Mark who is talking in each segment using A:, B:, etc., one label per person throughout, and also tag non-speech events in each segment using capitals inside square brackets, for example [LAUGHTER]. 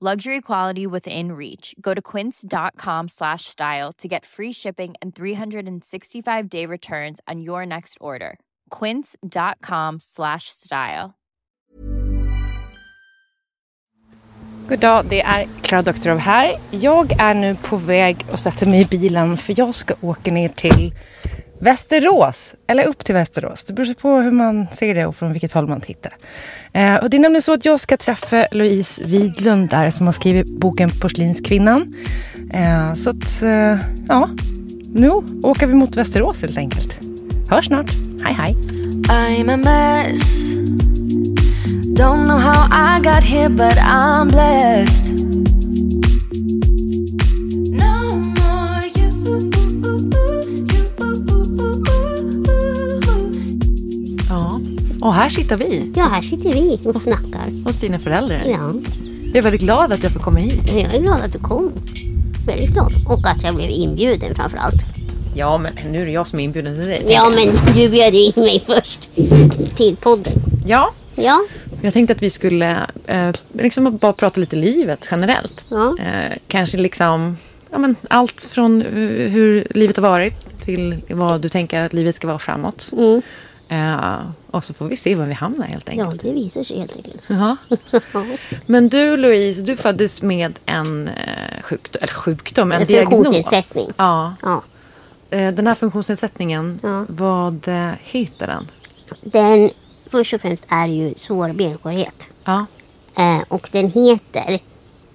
A: Luxury quality within reach. Go to quince.com slash style to get free shipping and 365 day returns on your next order. Quince.com slash style.
B: God dag, det är Klara Doktorov här. Jag är nu på väg och sätter mig i bilen för jag ska åka ner till Västerås, eller upp till Västerås. Det beror på hur man ser det och från vilket håll man tittar. Eh, och det är nämligen så att jag ska träffa Louise Widlund där som har skrivit boken Porslinskvinnan. Eh, så att, eh, ja, nu åker vi mot Västerås helt enkelt. Hörs snart. Hej, hej.
C: I'm a mess. Don't know how I got here, but I'm blessed. No more you.
D: Ja, och här sitter vi
E: Ja, här sitter vi och snackar.
D: hos dina föräldrar.
E: Ja,
D: Jag är väldigt glad att jag får komma hit.
E: jag är glad att du kom. Väldigt glad. Och att jag blev inbjuden framför allt.
D: Ja, men nu är det jag som är inbjuden till dig.
E: Ja, men du bjöd ju in mig först till podden.
D: Ja,
E: Ja,
D: jag tänkte att vi skulle eh, liksom bara prata lite livet generellt.
E: Ja.
D: Eh, kanske liksom ja, men allt från eh, hur livet har varit till vad du tänker att livet ska vara framåt. Eh, och så får vi se var vi hamnar helt enkelt.
E: Mm. ja det visar sig helt enkelt.
D: Ja. Men du Louise, du föddes med en eh, sjukdom, eller sjukdom, en,
E: En
D: diagnos.
E: funktionsnedsättning.
D: Ja.
E: Ja.
D: Eh, Den här funktionsnedsättningen, vad eh, heter den?
E: Den först och främst är ju svår benskörhet.
D: Ja.
E: Eh, och den heter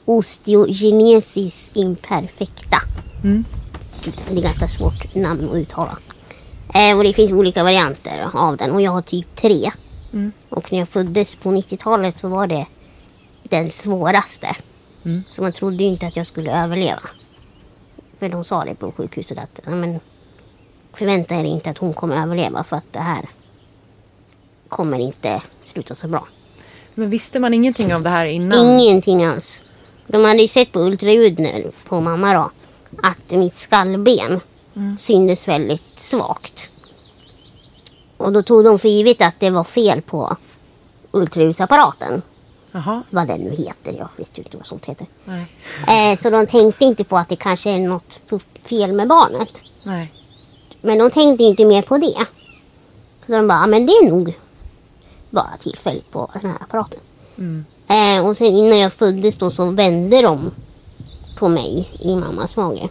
E: osteogenesis imperfecta. Det är ganska svårt namn att uttala. Eh, och det finns olika varianter av den och jag har typ tre. Och när jag föddes på 90-talet så var det den svåraste. Så man trodde ju inte att jag skulle överleva. För de sa det på sjukhuset att "Ja, men, förvänta er inte att hon kommer överleva för att det här kommer inte sluta så bra.
D: Men visste man ingenting om det här innan?
E: Ingenting alls. De hade ju sett på ultraljud nu, på mamma då att mitt skallben syntes väldigt svagt. Och då tog de för givet att det var fel på ultraljudsapparaten.
D: Jaha.
E: Vad den nu heter, jag vet ju inte vad sånt heter.
D: Nej.
E: Eh, så de tänkte inte på att det kanske är något f- fel med barnet.
D: Nej.
E: Men de tänkte ju inte mer på det. Så de bara, "Ja, men det är nog bara tillfälligt på den här apparaten. Eh, och sen innan jag föddes då så vände de på mig i mammas mage.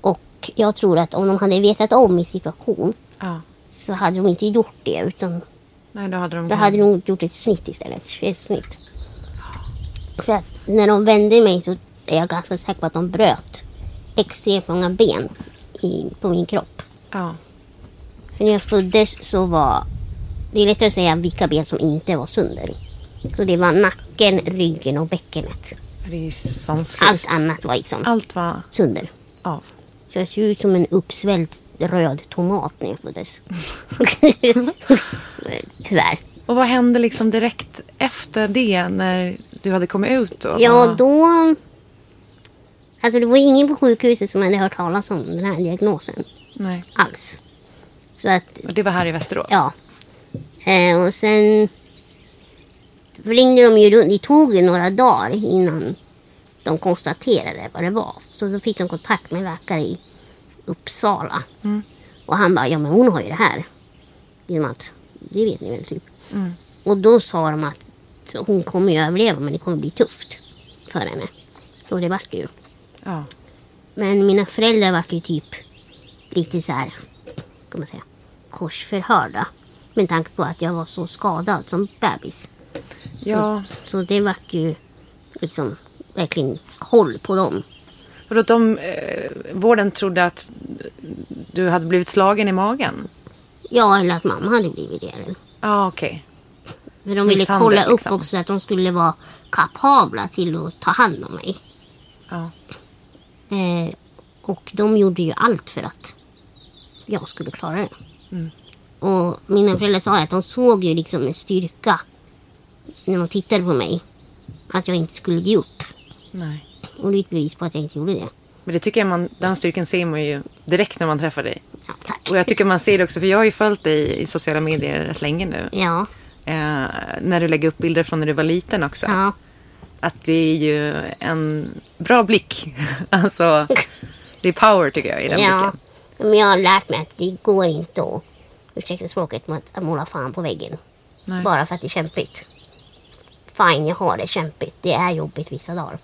E: Och jag tror att om de hade vetat om min situation
D: Ja.
E: så hade de inte gjort det utan
D: Nej, då hade de...
E: då hade de nog gjort ett snitt istället. Ett snitt. För att när de vände mig så är jag ganska säker på att de bröt extremt många ben i, på min kropp.
D: Ja.
E: För när jag föddes så var... Det är lättare att säga vilka ben som inte var sönder. Så det var nacken, ryggen och bäckenet.
D: Det är ju sanslöst.
E: Allt annat var liksom
D: Allt var...
E: sönder.
D: Ja.
E: Så jag ser ut som en uppsvälld röd tomat när jag föddes. Tyvärr.
D: Och vad hände liksom direkt efter det när du hade kommit ut? Då?
E: Ja,
D: Vad-
E: då Alltså det var ingen på sjukhuset som hade hört talas om den här diagnosen
D: Nej.
E: alls. Så att
D: Och det var här i Västerås?
E: Ja. Eh, och sen ringde de ju runt. Det tog ju några dagar innan de konstaterade vad det var. Så då fick de kontakt med en läkare i Uppsala. Och han bara, ja men hon har ju det här. Genom att, det vet ni väl typ. Och då sa de att hon kommer ju överleva men det kommer bli tufft för henne. Och det vart det ju.
D: ja.
E: Men mina föräldrar vart ju typ lite så här, kan man säga, korsförhörda. Med tanke på att jag var så skadad som bebis.
D: ja.
E: Så det vart ju liksom verkligen koll på dem.
D: För att de, eh, vården trodde att du hade blivit slagen i magen?
E: Ja, eller att mamma hade blivit det.
D: Ja, okej.
E: Men de ville
D: Misshandel,
E: kolla upp
D: liksom.
E: också att de skulle vara kapabla till att ta hand om mig.
D: Ja.
E: Eh, och de gjorde ju allt för att jag skulle klara det.
D: Mm.
E: Och mina föräldrar sa att de såg ju liksom med styrka när de tittade på mig att jag inte skulle ge upp.
D: Nej.
E: Och det är ett bevis på att jag inte gjorde det.
D: Men det tycker jag man, den styrkan ser man ju direkt när man träffar dig.
E: Ja, tack.
D: Och jag tycker man ser det också, för jag har ju följt dig i sociala medier rätt länge nu.
E: Ja,
D: Eh, när du lägger upp bilder från när du var liten också.
E: ja,
D: Att det är ju en bra blick. [LAUGHS] alltså, det är power tycker jag i den
E: ja.
D: blicken.
E: Men jag har lärt mig att det går inte att, ursäkta språket, men att måla fan på väggen.
D: Nej.
E: Bara för att det är kämpigt. Fine, jag har det kämpigt. Det är jobbigt vissa dagar.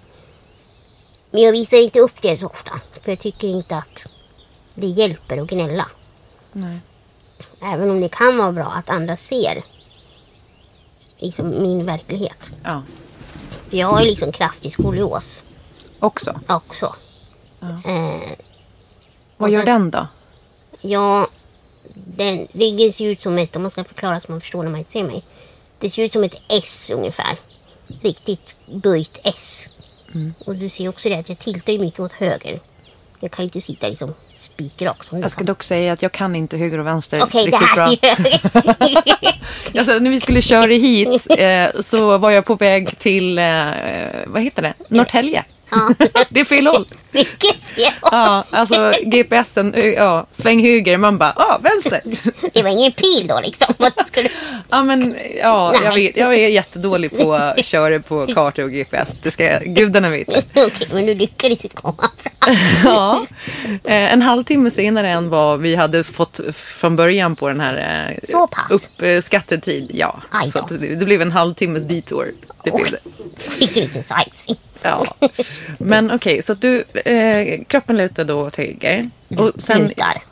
E: Men jag visar inte upp det så ofta. För jag tycker inte att det hjälper att gnälla.
D: Nej.
E: Även om det kan vara bra att andra ser liksom min verklighet.
D: Ja,
E: För jag har ju liksom kraftig skolios
D: också.
E: också. Eh,
D: Vad gör den då?
E: Ja, den, ryggen ser ut som ett, om man ska förklara så man förstår när man inte ser mig. Det ser ut som ett S ungefär. Riktigt böjt S.
D: Mm.
E: Och du ser också det att jag tiltar ju mycket åt höger. Jag kan ju inte sitta liksom spikrakt som du
D: Jag ska
E: kan.
D: dock säga att jag kan inte höger och vänster
E: Okej, det
D: riktigt bra.
E: här är
D: Alltså, när vi skulle köra hit eh, så var jag på väg till, eh, vad heter det, Norrtälje.
E: Ja.
D: [LAUGHS] det är fel håll.
E: mycket fel.
D: Ja, alltså GPSen, eh, ja, sväng höger, man bara, ja, vänster.
E: Det var ingen pil då liksom. Vad skulle...
D: Ja, men ja, jag,
E: Nej.
D: vet, jag är jättedålig på att köra på kartor och GPS. Det ska jag- gudarna veta.
E: Okej, men du lyckades inte komma fram.
D: Ja. [LAUGHS] Eh, En halvtimme senare än vad vi hade fått från början på den här eh,
E: Så pass?
D: uppskattetid. Ja,
E: Aj
D: så
E: då.
D: att det, det blev en halvtimmes detour. Det blev det.
E: Fick du inte en sightseeing?
D: Ja. Men okej, så att du, eh, kroppen lutar då åt höger. Och sen,
E: Lutar.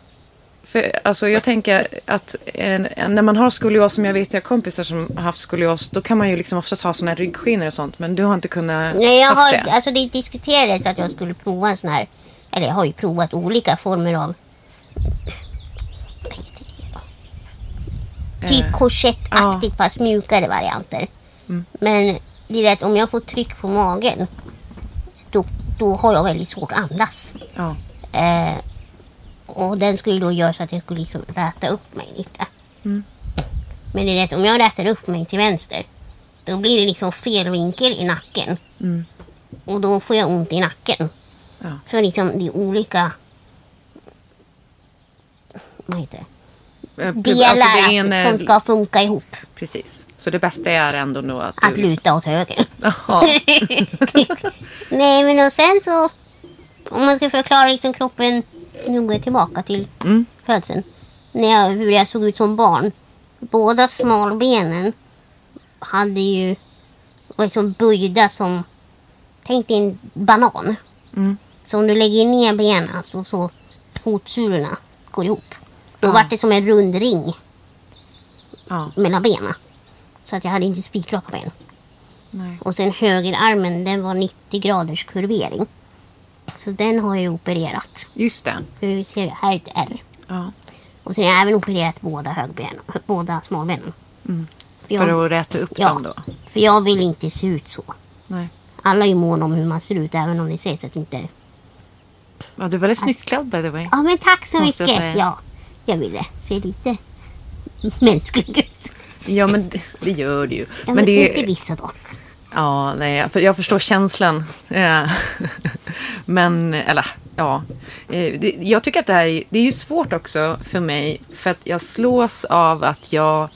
D: för, alltså jag tänker att eh, när man har skolios, som jag vet jag har kompisar som har haft skolios, då kan man ju liksom oftast ha sådana här ryggskynor och sånt. Men du har inte kunnat
E: Nej, jag
D: eh, haft
E: har,
D: det?
E: alltså det diskuterades att jag skulle prova en sån här, eller jag har ju provat olika former av vad heter det då?
D: Eh,
E: Typ korsettaktigt fast mjukare varianter.
D: Mm.
E: Men det är det att om jag får tryck på magen då, då har jag väldigt svårt att andas.
D: Ja.
E: Eh, och den skulle då göra så att jag skulle liksom räta upp mig lite.
D: Mm.
E: Men det är det att om jag rätar upp mig till vänster då blir det liksom fel vinkel i nacken. Och då får jag ont i nacken.
D: Mm. Ja.
E: Så liksom det är olika... Vad heter det?
D: Eh, pub-
E: Delar
D: alltså det är en, eh,
E: som ska funka ihop.
D: Precis. Så det bästa är ändå då att
E: Att
D: du... liksom-
E: luta åt höger.
D: Ja,
E: [LAUGHS] Nej men och sen så... Om man ska förklara liksom kroppen... Nu går jag tillbaka till födseln. När jag, hur jag såg ut som barn. Båda smalbenen hade ju... Var liksom böjda som... Tänk dig en banan. Så om du lägger ner benen så, så fotsulorna går ihop. Då vart det som en rund ring
D: ja,
E: mellan benen. Så att jag hade inte spikraka ben.
D: nej.
E: Och sen högerarmen, den var 90 graders kurvering. Så den har jag ju opererat.
D: Just det.
E: Nu ser det här är ett R.
D: Ja.
E: Och sen har jag även opererat båda högbenen, båda smalbenen. För jag,
D: Mm. För att räta upp
E: ja,
D: dem då.
E: för jag vill inte se ut så.
D: Nej.
E: Alla är ju måna om hur man ser ut, även om det sägs att inte...
D: Ja, du är väldigt snyggt klädd by the way.
E: Ja, men tack så
D: Måste jag
E: mycket!
D: säga.
E: ja, jag ville se lite [LAUGHS] mänsklig ut.
D: Ja, men det, det gör du ju.
E: Ja,
D: Men det
E: inte
D: är...
E: vissa dagar.
D: Ja, nej, jag- för jag förstår känslan. Eh, [LAUGHS] Men, eller ja. Eh, det- Jag tycker att det här är, det är ju svårt också för mig. För att jag slås av att jag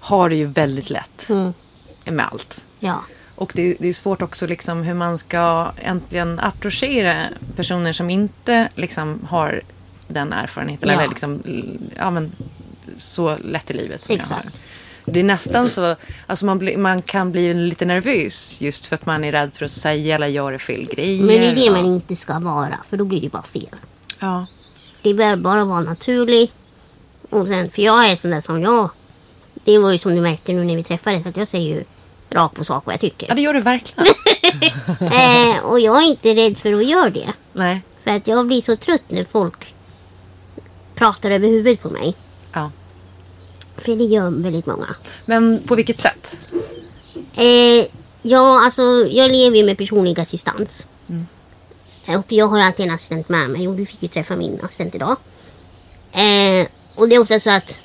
D: har det ju väldigt lätt med allt.
E: Ja.
D: Och det, det är svårt också liksom hur man ska äntligen approchera personer som inte liksom har den erfarenheten.
E: Ja.
D: Eller liksom, ja, men, så lätt i livet som jag har.
E: Exakt.
D: Det är nästan så, alltså man, blir- man kan bli lite nervös just för att man är rädd för att säga eller göra fel grejer.
E: Men det är det
D: och-
E: man inte ska vara, för då blir det bara fel.
D: Ja.
E: Det bör bara vara naturlig. Och sen, för jag är sån där som jag. Det var ju som du märkte nu när vi träffades, att jag säger ju rakt på sak vad jag tycker.
D: ja, det gör du verkligen.
E: Eh, och jag är inte rädd för att göra det.
D: Nej.
E: För att jag blir så trött när folk pratar över huvudet på mig.
D: Ja.
E: För det gör väldigt många.
D: Men på vilket sätt?
E: Eh, ja, alltså jag lever ju med personlig assistans. Eh, Och jag har ju alltid en assistent med mig och du fick ju träffa min assistent idag. Eh, och det är ofta så att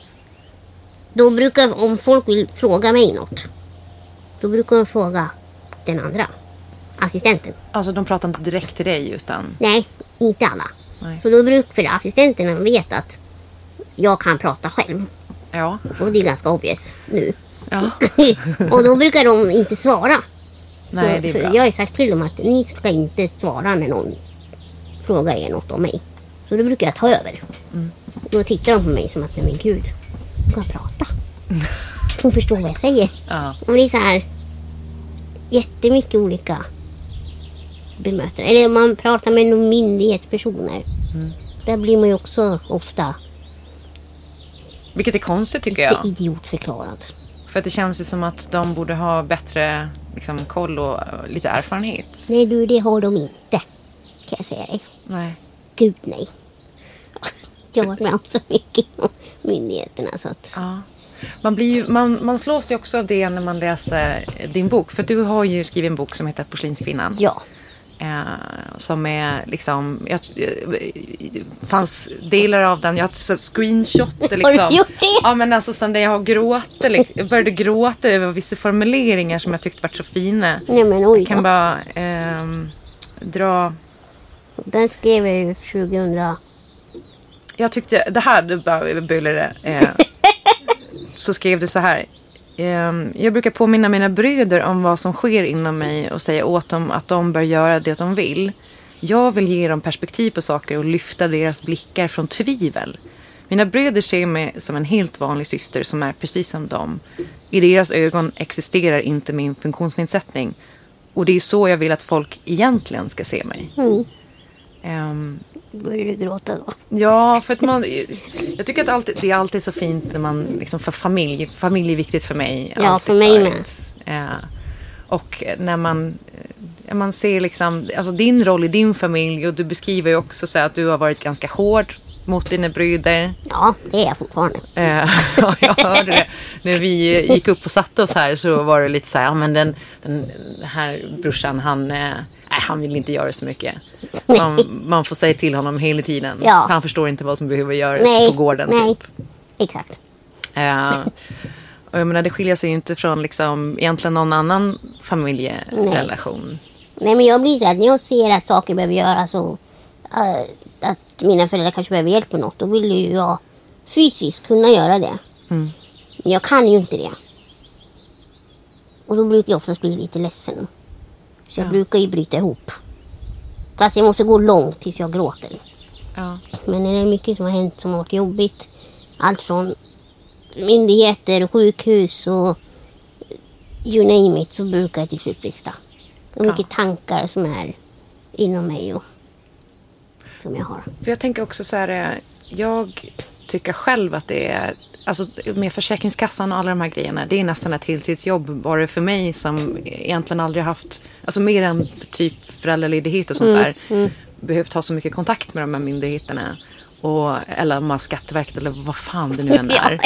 E: då brukar, om folk vill fråga mig något, då brukar de fråga den andra assistenten.
D: Alltså de pratar inte direkt till dig utan...
E: Nej, inte alla.
D: Nej.
E: Så då brukar för assistenterna vet att jag kan prata själv.
D: Ja.
E: Och det är ganska obvious nu. [LAUGHS]
D: ja.
E: och då brukar de inte svara.
D: Nej,
E: så,
D: det
E: så
D: är bra.
E: jag har ju sagt till dem att ni ska inte svara när någon frågar er något om mig. Så då brukar jag ta över.
D: Mm.
E: Då tittar de på mig som att, nej men gud, hon kan prata. Hon förstår vad jag säger.
D: Ja.
E: Och det är så här jättemycket olika bemötande. Eller man pratar med någon myndighetspersoner.
D: Mm.
E: Där blir man ju också ofta
D: Vilket är konstigt tycker
E: lite
D: jag.
E: idiotförklarad.
D: För att det känns ju som att de borde ha bättre liksom, koll och eh, lite erfarenhet.
E: Nej du, det har de inte. Kan jag säga dig.
D: Nej.
E: Gud nej. [LAUGHS] Jag har varit med om så mycket inom myndigheterna så att...
D: Ja. Man, blir ju, man, man slås ju också av det när man läser eh, din bok. För du har ju skrivit en bok som heter Porslinskvinnan.
E: Ja.
D: Eh, som är liksom... Jag, eh, fanns delar av den. Jag har ett så- screenshot. Liksom.
E: gjort det?
D: Ja, men alltså sen där jag har gråtit. Liksom, jag började gråta över vissa formuleringar som jag tyckte var så fina.
E: Nej men oj
D: Jag kan
E: då.
D: bara ehm, dra...
E: Den skrev jag ju 2000...
D: Jag tyckte det här, du bara bullade. Eh, så skrev du så här. ehm, jag brukar påminna mina bröder om vad som sker inom mig och säga åt dem att de bör göra det de vill. Jag vill ge dem perspektiv på saker och lyfta deras blickar från tvivel. Mina bröder ser mig som en helt vanlig syster som är precis som dem. I deras ögon existerar inte min funktionsnedsättning. Och det är så jag vill att folk egentligen ska se mig. Ehm,
E: Började du gråta då?
D: Ja, för att man, jag tycker att alltid, det är alltid så fint när man, liksom för familj, familj är viktigt för mig.
E: Ja,
D: alltid
E: för mig
D: varit. Ja. Och när man, eh, man ser liksom, alltså din roll i din familj och du beskriver ju också så här att du har varit ganska hård mot dina bröder.
E: Ja, det är jag fortfarande.
D: Eh, [LAUGHS] ja, jag hörde det. När vi eh, gick upp och satte oss här så var det lite så här, ja men den, den här brorsan han, eh, nej, han vill inte göra så mycket. Man, man får säga till honom hela tiden.
E: Ja.
D: Han förstår inte vad som behöver göras
E: Nej.
D: på gården.
E: nej.
D: Typ.
E: Exakt.
D: Eh, och jag menar det skiljer sig ju inte från liksom, egentligen någon annan familjerelation.
E: Nej men jag blir så att när jag ser att saker behöver göras och eh, att mina föräldrar kanske behöver hjälp med något, då vill ju jag fysiskt kunna göra det. Men jag kan ju inte det. Och då brukar jag oftast bli lite ledsen. Så jag brukar ju bryta ihop. Fast jag måste gå långt tills jag gråter.
D: Ja.
E: Men det är mycket som har hänt som har varit jobbigt. Allt från myndigheter, sjukhus och you name it så brukar jag till slut brista. Och mycket tankar som är inom mig och som jag har.
D: För jag tänker också så här, eh, jag tycker själv att det är, alltså med Försäkringskassan och alla de här grejerna, det är nästan ett heltidsjobb bara för mig som egentligen aldrig haft, alltså mer än typ föräldraledighet och sånt där, behövt ha så mycket kontakt med de här myndigheterna. Och, eller om man har Skatteverket eller vad fan det nu än
E: [LAUGHS]
D: är.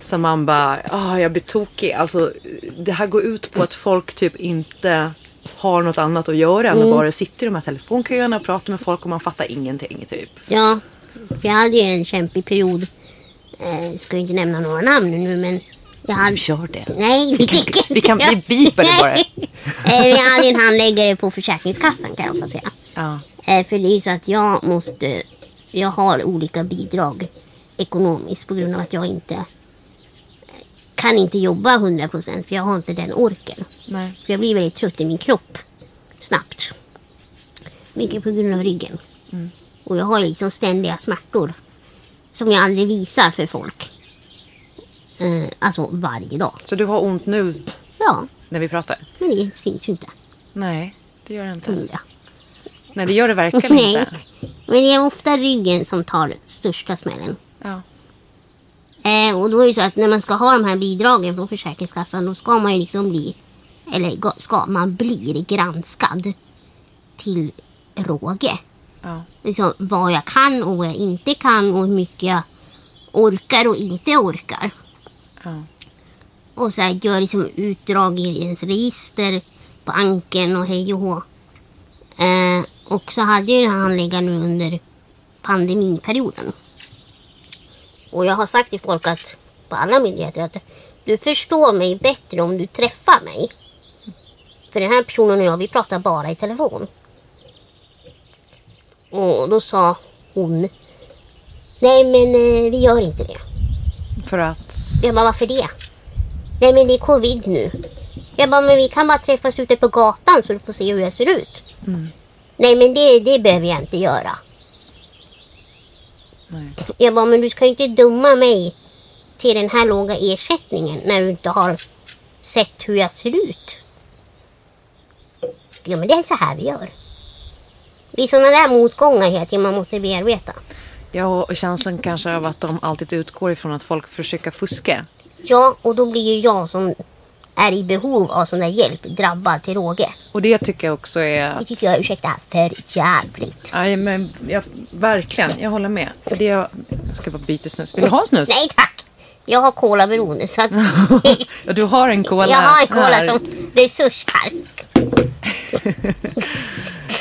D: Så man bara, ah, jag blir tokig. Alltså, det här går ut på att folk typ inte har något annat att göra än att bara sitta i de här telefonköerna och prata med folk och man fattar ingenting typ.
E: Ja, jag hade ju en kämpig period. Eh, ska ju inte nämna några namn nu men jag hade...
D: Gör det.
E: Nej, vi tänker inte
D: Vi kan
E: göra- [LAUGHS]
D: vi beeper det bara.
E: Nej. Eh, men Jag hade ju en handläggare på Försäkringskassan kan jag få säga.
D: Ja.
E: Eh, För det är ju så att jag måste... Jag har olika bidrag ekonomiskt på grund av att jag inte kan inte jobba 100% för jag har inte den orken.
D: Nej.
E: För jag blir väldigt trött i min kropp snabbt. Mycket på grund av ryggen. Och jag har liksom ständiga smärtor. Som jag aldrig visar för folk. Eh, alltså varje dag.
D: Så du har ont nu
E: Ja,
D: när vi pratar?
E: men det syns ju inte.
D: Nej, det gör det inte.
E: Mm, ja.
D: Nej, det gör det verkligen
E: [LAUGHS] Nej.
D: inte.
E: Men det är ofta ryggen som tar största smällen.
D: Ja.
E: Eh, och då är det så att när man ska ha de här bidragen från Försäkringskassan då ska man ju liksom bli, eller ga- ska, man blir granskad till råge.
D: Ja.
E: Liksom vad jag kan och vad jag inte kan och hur mycket jag orkar och inte orkar.
D: Ja.
E: Och så här, gör liksom utdrag i ens register, banken och hej och hå. Eh, och så hade ju den här handläggaren nu under pandemiperioden. Och jag har sagt till folk att, på alla myndigheter att du förstår mig bättre om du träffar mig. För den här personen och jag, vi pratar bara i telefon. Och då sa hon, nej men eh, vi gör inte det.
D: För att...
E: Jag bara, varför det? Nej men det är covid nu. Jag bara, men vi kan bara träffas ute på gatan så du får se hur jag ser ut. Nej men det, det behöver jag inte göra.
D: Nej.
E: Jag bara, men du ska ju inte dumma mig till den här låga ersättningen när du inte har sett hur jag ser ut. Ja men det är så här vi gör. Det är sådana där motgångar hela tiden man måste bearbeta.
D: Ja, och känslan kanske av att de alltid utgår ifrån att folk försöker fuska.
E: Ja, och då blir ju jag som är i behov av sån där hjälp drabbad till råge.
D: Och det tycker jag också är...
E: Det
D: att-
E: tycker jag, ursäkta, för jävligt.
D: Nej, men jag, verkligen. Jag håller med. För det jag... jag ska bara byta snus. Vill du ha en snus?
E: Nej tack! Jag har colaberoende så att
D: ja, du har en cola.
E: jag har en cola
D: här.
E: som resurs här.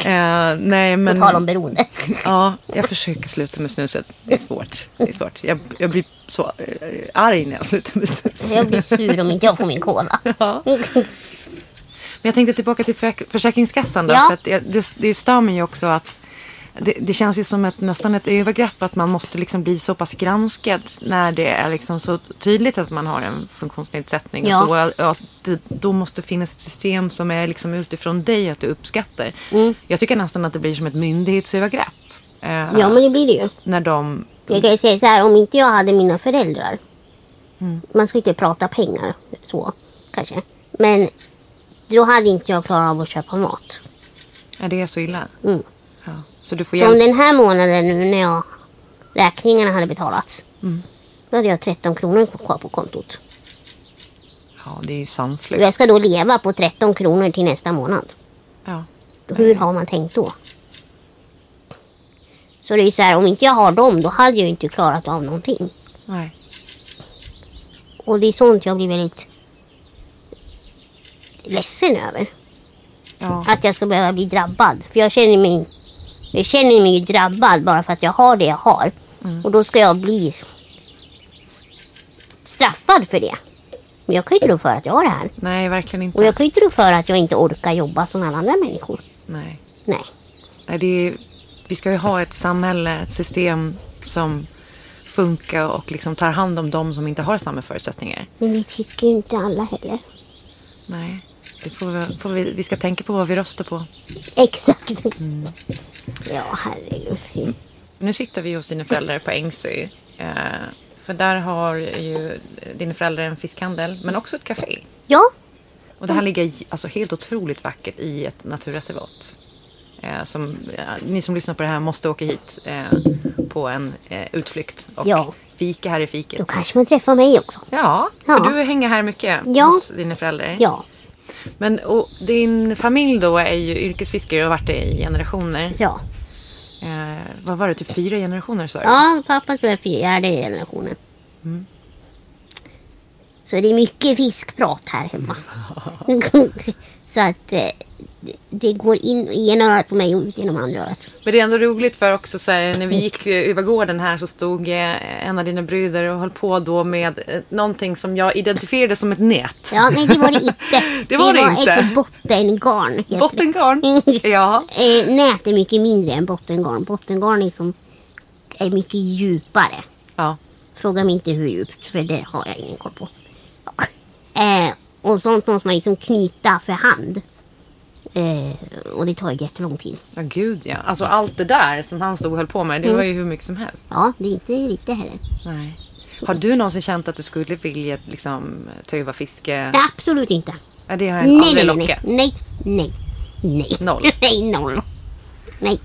D: Eh, nej,
E: På
D: men...
E: tal om beroende.
D: Ja, jag försöker sluta med snuset. Det är svårt. Det är svårt. Jag, jag blir så eh, arg när jag slutar med snus.
E: Jag blir sur om inte jag får min cola.
D: Men jag tänkte tillbaka till försäk- Försäkringskassan då.
E: Ja.
D: För att jag, det, det stör mig ju också att det, det känns ju som ett, nästan ett övergrepp att man måste liksom bli så pass granskad när det är liksom så tydligt att man har en funktionsnedsättning.
E: Ja.
D: Och så, och att det, då måste finnas ett system som är liksom utifrån dig att du uppskattar. Jag tycker nästan att det blir som ett myndighetsövergrepp. Eh,
E: Mm. Ja men det blir det ju.
D: När de...
E: Jag kan ju säga så här, om inte jag hade mina föräldrar. Man ska inte prata pengar så kanske. Men då hade inte jag klarat av att köpa mat.
D: Är det är så illa?
E: Mm.
D: Ja. Så du får
E: Som
D: hjälp?
E: den här månaden nu när jag räkningarna hade betalats. Då hade jag 13 kronor kvar på kontot.
D: Ja, det är ju
E: Och jag
D: sanslöst.
E: ska då leva på 13 kronor till nästa månad.
D: Ja.
E: Hur har man tänkt då? Så det är ju så här, om inte jag har dem då hade jag ju inte klarat av någonting.
D: Nej.
E: Och det är sånt jag blir väldigt ledsen över.
D: Ja.
E: Att jag ska behöva bli drabbad. För jag känner mig, jag känner mig ju drabbad bara för att jag har det jag har. Och då ska jag bli straffad för det. Men jag kan ju inte rå för att jag har det här.
D: Nej, verkligen inte.
E: Och jag kan ju inte rå för att jag inte orkar jobba som alla andra människor.
D: Nej.
E: Nej.
D: Nej, det är, vi ska ju ha ett samhälle, ett system som funkar och liksom tar hand om de som inte har samma förutsättningar.
E: Men det tycker ju inte alla heller. [LAUGHS]
D: Nej, det får vi, får vi, vi ska tänka på vad vi röstar på.
E: Exakt. Ja, herregud.
D: Nu sitter vi hos dina föräldrar på Ängsö. Eh, för där har ju dina föräldrar en fiskhandel, men också ett café.
E: Ja,
D: Och det här ligger i- alltså, helt otroligt vackert i ett naturreservat. Eh, som, eh, ni som lyssnar på det här måste åka hit eh, på en eh, utflykt och
E: Ja.
D: fika här i fiket.
E: då kanske man träffar mig också.
D: Ja,
E: Ja.
D: för du hänger här mycket
E: Ja.
D: hos dina föräldrar.
E: Ja,
D: Men och din familj då är ju yrkesfiskare och har varit det i generationer.
E: ja.
D: Eh, vad var det, typ fyra generationer sa du?
E: Ja, pappa tror jag är fjärde generationen.
D: Mm. [LAUGHS]
E: Så det är mycket fiskprat här hemma. så att eh, det går in i ena örat på mig och ut genom andra örat.
D: Men det är ändå roligt för också så här, när vi gick eh, över gården här så stod eh, en av dina bröder och höll på då med eh, någonting som jag identifierade som ett nät.
E: Ja, nej det var det inte.
D: [LAUGHS] Det var det inte.
E: ett bottengarn. [LAUGHS] heter det.
D: Bottengarn. [LAUGHS] Ja.
E: Eh, nät är mycket mindre än bottengarn. Bottengarn är, liksom, är mycket djupare.
D: ja.
E: Fråga mig inte hur djupt, för det har jag ingen koll på. Eh, och sånt måste man liksom knyta för hand. Eh, och det tar ju jättelång tid.
D: Ja, gud ja. Alltså allt det där som han stod och höll på med, det
E: Mm.
D: var ju hur mycket som helst.
E: Ja, det är inte lite heller.
D: Nej. Har du någonsin känt att du skulle vilja liksom töva fiske?
E: Nej, absolut inte.
D: Ja, det har jag
E: Nej,
D: aldrig
E: nej, nej,
D: lockat.
E: nej, nej, nej.
D: Noll.
E: [LAUGHS] Nej, noll. Nej.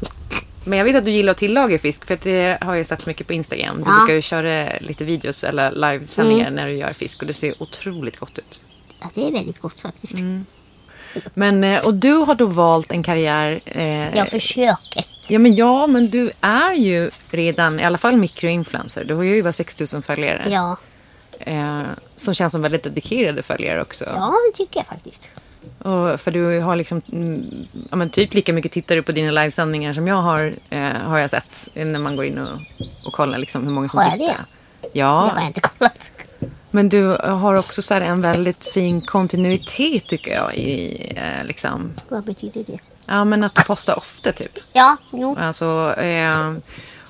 D: Men jag vet att du gillar att tillaga fisk för att det har jag sett mycket på Instagram. Du
E: Ja. Mm.
D: brukar ju köra lite videos eller livesändningar när du gör fisk och det ser otroligt gott ut.
E: Ja, det är väldigt gott faktiskt.
D: Men, eh, och du har då valt en karriär. Eh, ja.
E: Jag försöker.
D: men ja, men du är ju redan i alla fall mikroinfluencer. Du har ju över 6 000 följare.
E: Ja,
D: Eh, som känns som väldigt dedikerade följare också.
E: ja det tycker jag faktiskt.
D: Och för du har liksom, mm, ja, men typ lika mycket tittare på dina livesändningar som jag har, eh, har jag sett. eh, När man går in och, och kollar liksom hur många som
E: Har jag
D: tittar.
E: det? Det
D: Ja,
E: har jag inte kollat.
D: men du har också så här en väldigt fin kontinuitet tycker jag i eh, liksom,
E: Vad betyder det?
D: ja men att posta ofta typ.
E: Ja, jo.
D: Alltså, eh,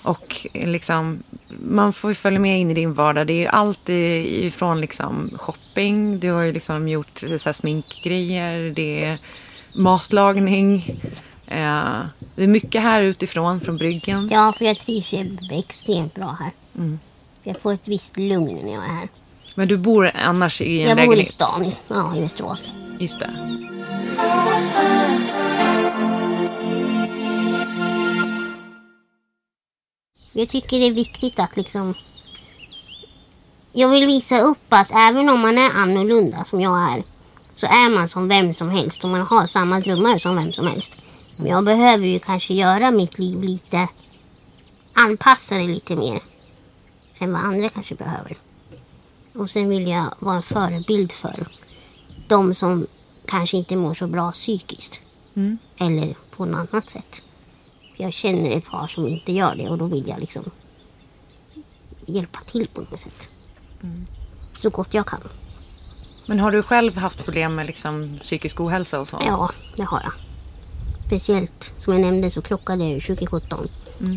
D: och liksom, man får ju följa med in i din vardag. Det är ju allt i- ifrån liksom shopping, du har ju liksom gjort så här sminkgrejer, det är matlagning. Eh, det är mycket här utifrån, från bryggen.
E: Ja, för jag trivs ju extremt bra här. Jag får ett visst lugn när jag är här.
D: Men du bor annars i en
E: Jag bor i
D: lägenhet.
E: stan, i- ja, i Västerås.
D: Just det.
E: Jag tycker det är viktigt att liksom... Jag vill visa upp att även om man är annorlunda som jag är så är man som vem som helst och man har samma drömmar som vem som helst. Men jag behöver ju kanske göra mitt liv lite... Anpassa det lite mer än vad andra kanske behöver. Och sen vill jag vara en förebild för de som kanske inte mår så bra psykiskt.
D: Mm.
E: Eller på något annat sätt. Jag känner ett par som inte gör det och då vill jag liksom hjälpa till på något sätt. Så gott jag kan.
D: Men har du själv haft problem med liksom psykisk ohälsa och så?
E: Ja, det har jag. Speciellt som jag nämnde så krockade jag ju 2017.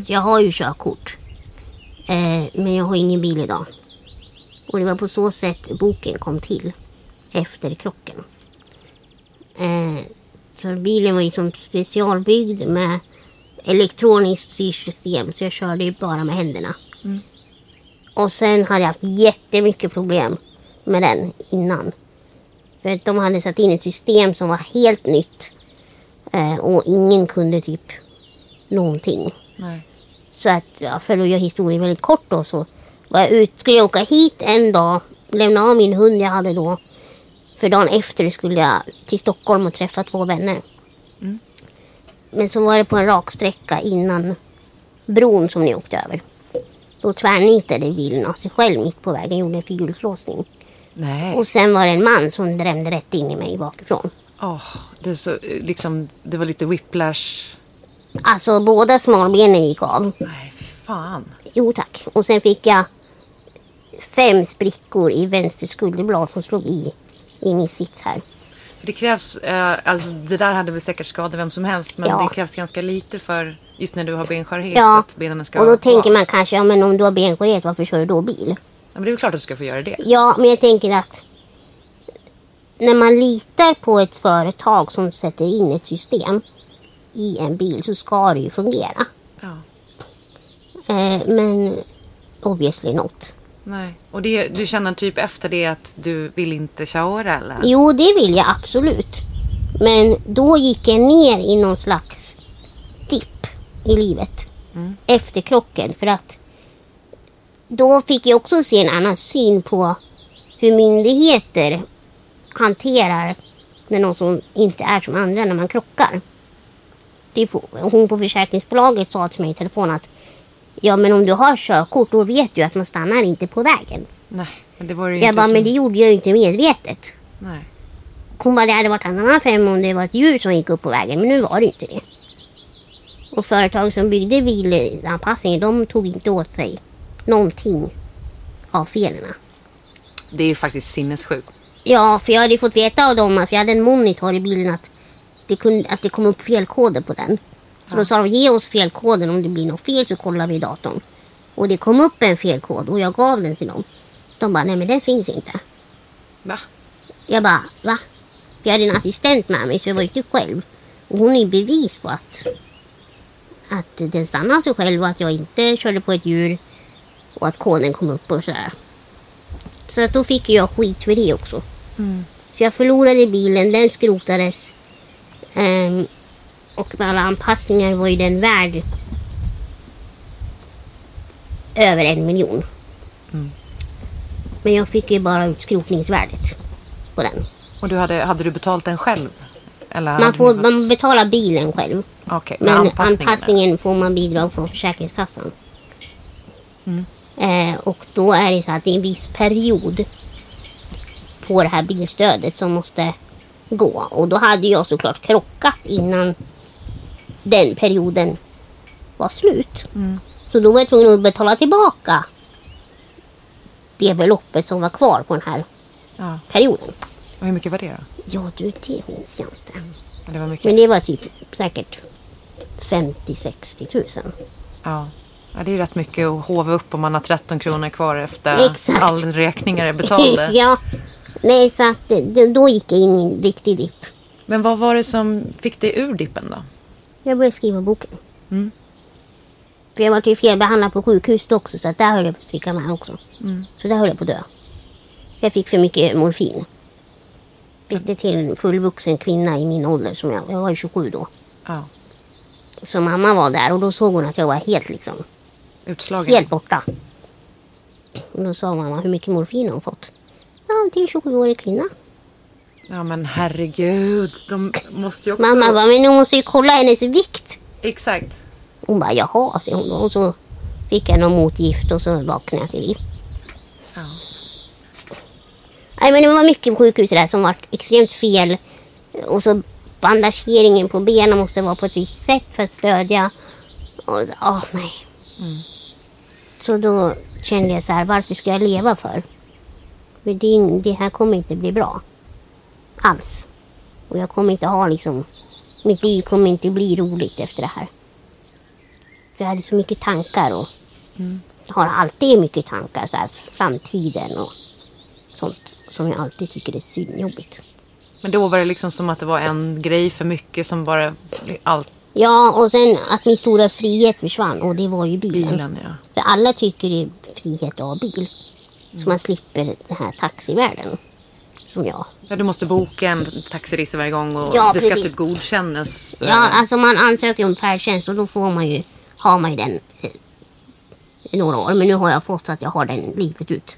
E: Så jag har ju körkort. Eh, men jag har ingen bil idag. Och det var på så sätt boken kom till. Efter krocken. Eh, så bilen var ju som specialbyggd med elektroniskt styrsystem. Så jag körde ju bara med händerna. Och sen hade jag haft jättemycket problem med den innan. För att de hade satt in ett system som var helt nytt. Eh, och ingen kunde typ någonting.
D: Nej.
E: Så att, ja, för att göra historien väldigt kort då så var jag ut, skulle jag åka hit en dag, lämna av min hund jag hade då. För dagen efter skulle jag till Stockholm och träffa två vänner. Men så var det på en rak sträcka innan bron som ni åkte över. Då tvärnitade bilen av sig själv mitt på vägen, gjorde en fyrhjulslåsning.
D: Nej.
E: Och sen var det en man som drämde rätt in i mig bakifrån.
D: Åh, det, är så, liksom, det var lite whiplash.
E: Alltså båda smalbenen gick av.
D: Nej, fy fan.
E: Jo tack. Och sen fick jag fem sprickor i vänster skulderblad som slog i, i min sits här.
D: För det krävs, eh, alltså det där hade väl säkert skadat vem som helst men
E: Ja.
D: det krävs ganska lite för just när du har benskörhet
E: Ja,
D: att benen ska
E: och då
D: vara
E: tänker
D: kvar.
E: man kanske, ja men om du har benskörhet, varför kör du då bil?
D: Ja, men det är väl klart att du ska få göra det.
E: Ja, men jag tänker att när man litar på ett företag som sätter in ett system i en bil så ska det ju fungera.
D: Ja,
E: Eh, men obviously not.
D: nej. Och det, du känner typ efter det att du vill inte köra eller?
E: Jo, det vill jag absolut. Men då gick jag ner i någon slags dipp i livet.
D: Mm.
E: Efter krocken. För att då fick jag också se en annan syn på hur myndigheter hanterar när någon som inte är som andra när man krockar. Det är på, hon på försäkringsbolaget sa till mig i telefon att ja men om du har körkort då vet du att man stannar inte på vägen.
D: Nej, men det var det ju
E: Jag
D: inte
E: bara
D: som-
E: men det gjorde jag ju inte medvetet
D: Nej.
E: Hon bara, det hade varit en annan femma om det var ett djur som gick upp på vägen, men nu var det inte det. Och företag som byggde bilanpassningen, de tog inte åt sig någonting av felen.
D: Det är ju faktiskt sinnessjukt.
E: Ja, för jag hade ju fått veta av dem att jag hade en monitor i bilen att det, kunde, att det kom upp felkoder på den. Så då sa de ge oss felkoden om det blir något fel så kollar vi i datorn. Och det kom upp en felkod och jag gav den till dem. De bara nej men den finns inte.
D: Va?
E: Jag bara va? Jag hade en assistent med mig så jag var ute själv. Och hon är bevis på att, att den stannade av sig själv och att jag inte körde på ett djur. Och att koden kom upp och sådär. Så att då fick jag skit för det också. Så jag förlorade bilen, den skrotades. Ehm, och med alla anpassningar var ju den värd över en miljon. Men jag fick ju bara ut skrotningsvärdet på den.
D: Och du hade, hade du betalt den själv? Eller hade
E: Man,
D: ni
E: får,
D: fått-
E: man betalar bilen själv.
D: Okej, men
E: Men
D: anpassningen.
E: anpassningen, får man bidrag från Försäkringskassan.
D: Mm.
E: Eh, och då är det så att det är en viss period på det här bilstödet som måste gå. Och då hade jag såklart krockat innan den perioden var slut.
D: Mm.
E: Så då var jag tvungen att betala tillbaka det beloppet som var kvar på den här
D: Ja.
E: perioden.
D: Och hur mycket var det då?
E: Ja, du, det minns jag inte.
D: Ja, Det var mycket.
E: Men det var typ säkert 50-60 tusen.
D: Ja. ja, det är ju rätt mycket att hova upp om man har 13 kronor kvar efter
E: Exakt.
D: alla räkningar är
E: [LAUGHS]
D: betalda.
E: ja. Nej, så att det- det, då gick jag in i en riktig dipp.
D: Men vad var det som fick dig ur dippen då?
E: Jag började skriva boken. För jag var ju felbehandlad på sjukhuset också så att där höll jag på att stryka med också. Så där höll jag på att dö. Jag fick för mycket morfin. Inte till en fullvuxen kvinna i min ålder som jag, jag var ju 27 då.
D: Ja,
E: Så mamma var där och då såg hon att jag var helt liksom
D: utslagen.
E: Helt borta. Och då sa mamma, hur mycket morfin har hon fått? Ja, det är en 27-årig kvinna.
D: Ja, men herregud. De måste ju också...
E: Mamma bara, men du måste ju kolla hennes vikt.
D: Exakt.
E: Hon bara, jaha, säger hon då. Och så fick jag något motgift och så vaknade jag till liv.
D: Ja.
E: Nej, men det var mycket på sjukhuset där som var extremt fel. Och så bandageringen på benen måste vara på ett visst sätt för att stödja. Och, åh, nej. Så då kände jag så här, varför ska jag leva för? För det, är- det här kommer inte bli bra. Alls. Och jag kommer inte ha liksom, mitt liv kommer inte bli roligt efter det här. För jag hade så mycket tankar och
D: Mm.
E: har alltid mycket tankar så här, framtiden och sånt som jag alltid tycker är svinjobbigt.
D: Men då var det liksom som att det var en grej för mycket som bara... Allt.
E: Ja, och sen att min stora frihet försvann och det var ju bilen.
D: Bilen, ja.
E: För alla tycker det är frihet att ha bil.
D: Mm.
E: Så man slipper den här taxivärlden. Som jag.
D: Ja, du måste boka en taxiresa varje gång och
E: Ja,
D: det ska
E: precis.
D: typ godkännas.
E: Ja, alltså man ansöker om färdtjänst och då får man ju, har man ju den eh, i några år. Men nu har jag fått så att jag har den livet ut.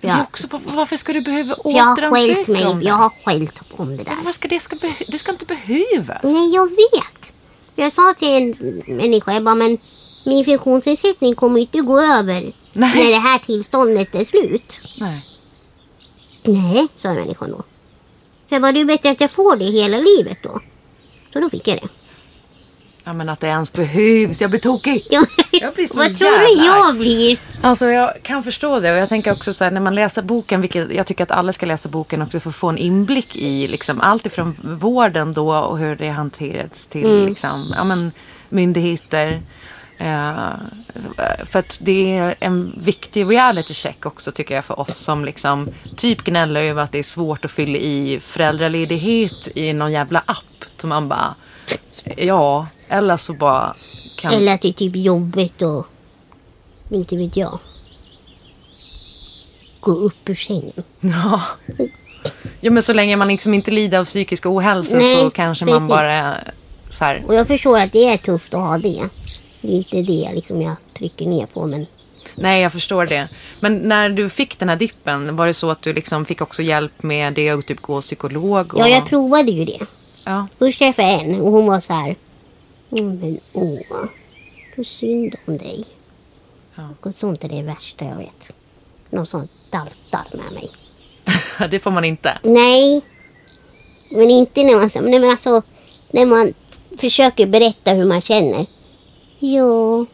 E: För
D: Det är
E: jag,
D: också, var- varför ska du behöva
E: för jag har skällt
D: återansöka om
E: mig.
D: det?
E: Jag har skällt om det där.
D: Men vad ska det, ska be- det ska inte behövas.
E: Nej, jag vet. Jag sa till en människa, jag bara, men min funktionsnedsättning kommer inte gå över
D: Nej.
E: när det här tillståndet är slut.
D: Nej.
E: Nej, sa människan då. För jag bara, det är bättre att jag får det hela livet då. Så då fick jag det. [LAUGHS]
D: Ja, men att det ens behövs. Jag blir tokig.
E: Jag,
D: Jag blir så
E: Vad tror
D: jävla
E: du jag blir?
D: Alltså jag kan förstå det och jag tänker också så här när man läser boken, vilket jag tycker att alla ska läsa boken också för att få en inblick i liksom allt ifrån vården då och hur det hanterats till liksom, ja men myndigheter. Eh, för att det är en viktig reality check också tycker jag för oss som liksom typ gnäller över att det är svårt att fylla i föräldraledighet i någon jävla app. Så man bara, ja, eller så bara kan...
E: Eller att det är typ jobbigt och inte vet jag. Gå upp ur sängen.
D: Ja. ja, men så länge man liksom inte lider av psykisk ohälsa
E: Nej,
D: så kanske man
E: precis.
D: bara så här.
E: Och jag förstår att det är tufft att ha det. Det är inte det liksom jag trycker ner på men
D: Nej, jag förstår det. Men när du fick den här dippen, var det så att du liksom fick också hjälp med det och typ gå psykolog? Och...
E: Ja, jag provade ju det.
D: Ja. [LAUGHS]
E: Först träffade jag en och hon var så här. "Mm, Men åh, så synd om dig. Och sånt är det värsta jag vet. Någon som daltar med mig.
D: Det får man inte.
E: Nej, Men inte när man... Nej, men alltså, när man försöker berätta hur man känner. Ja,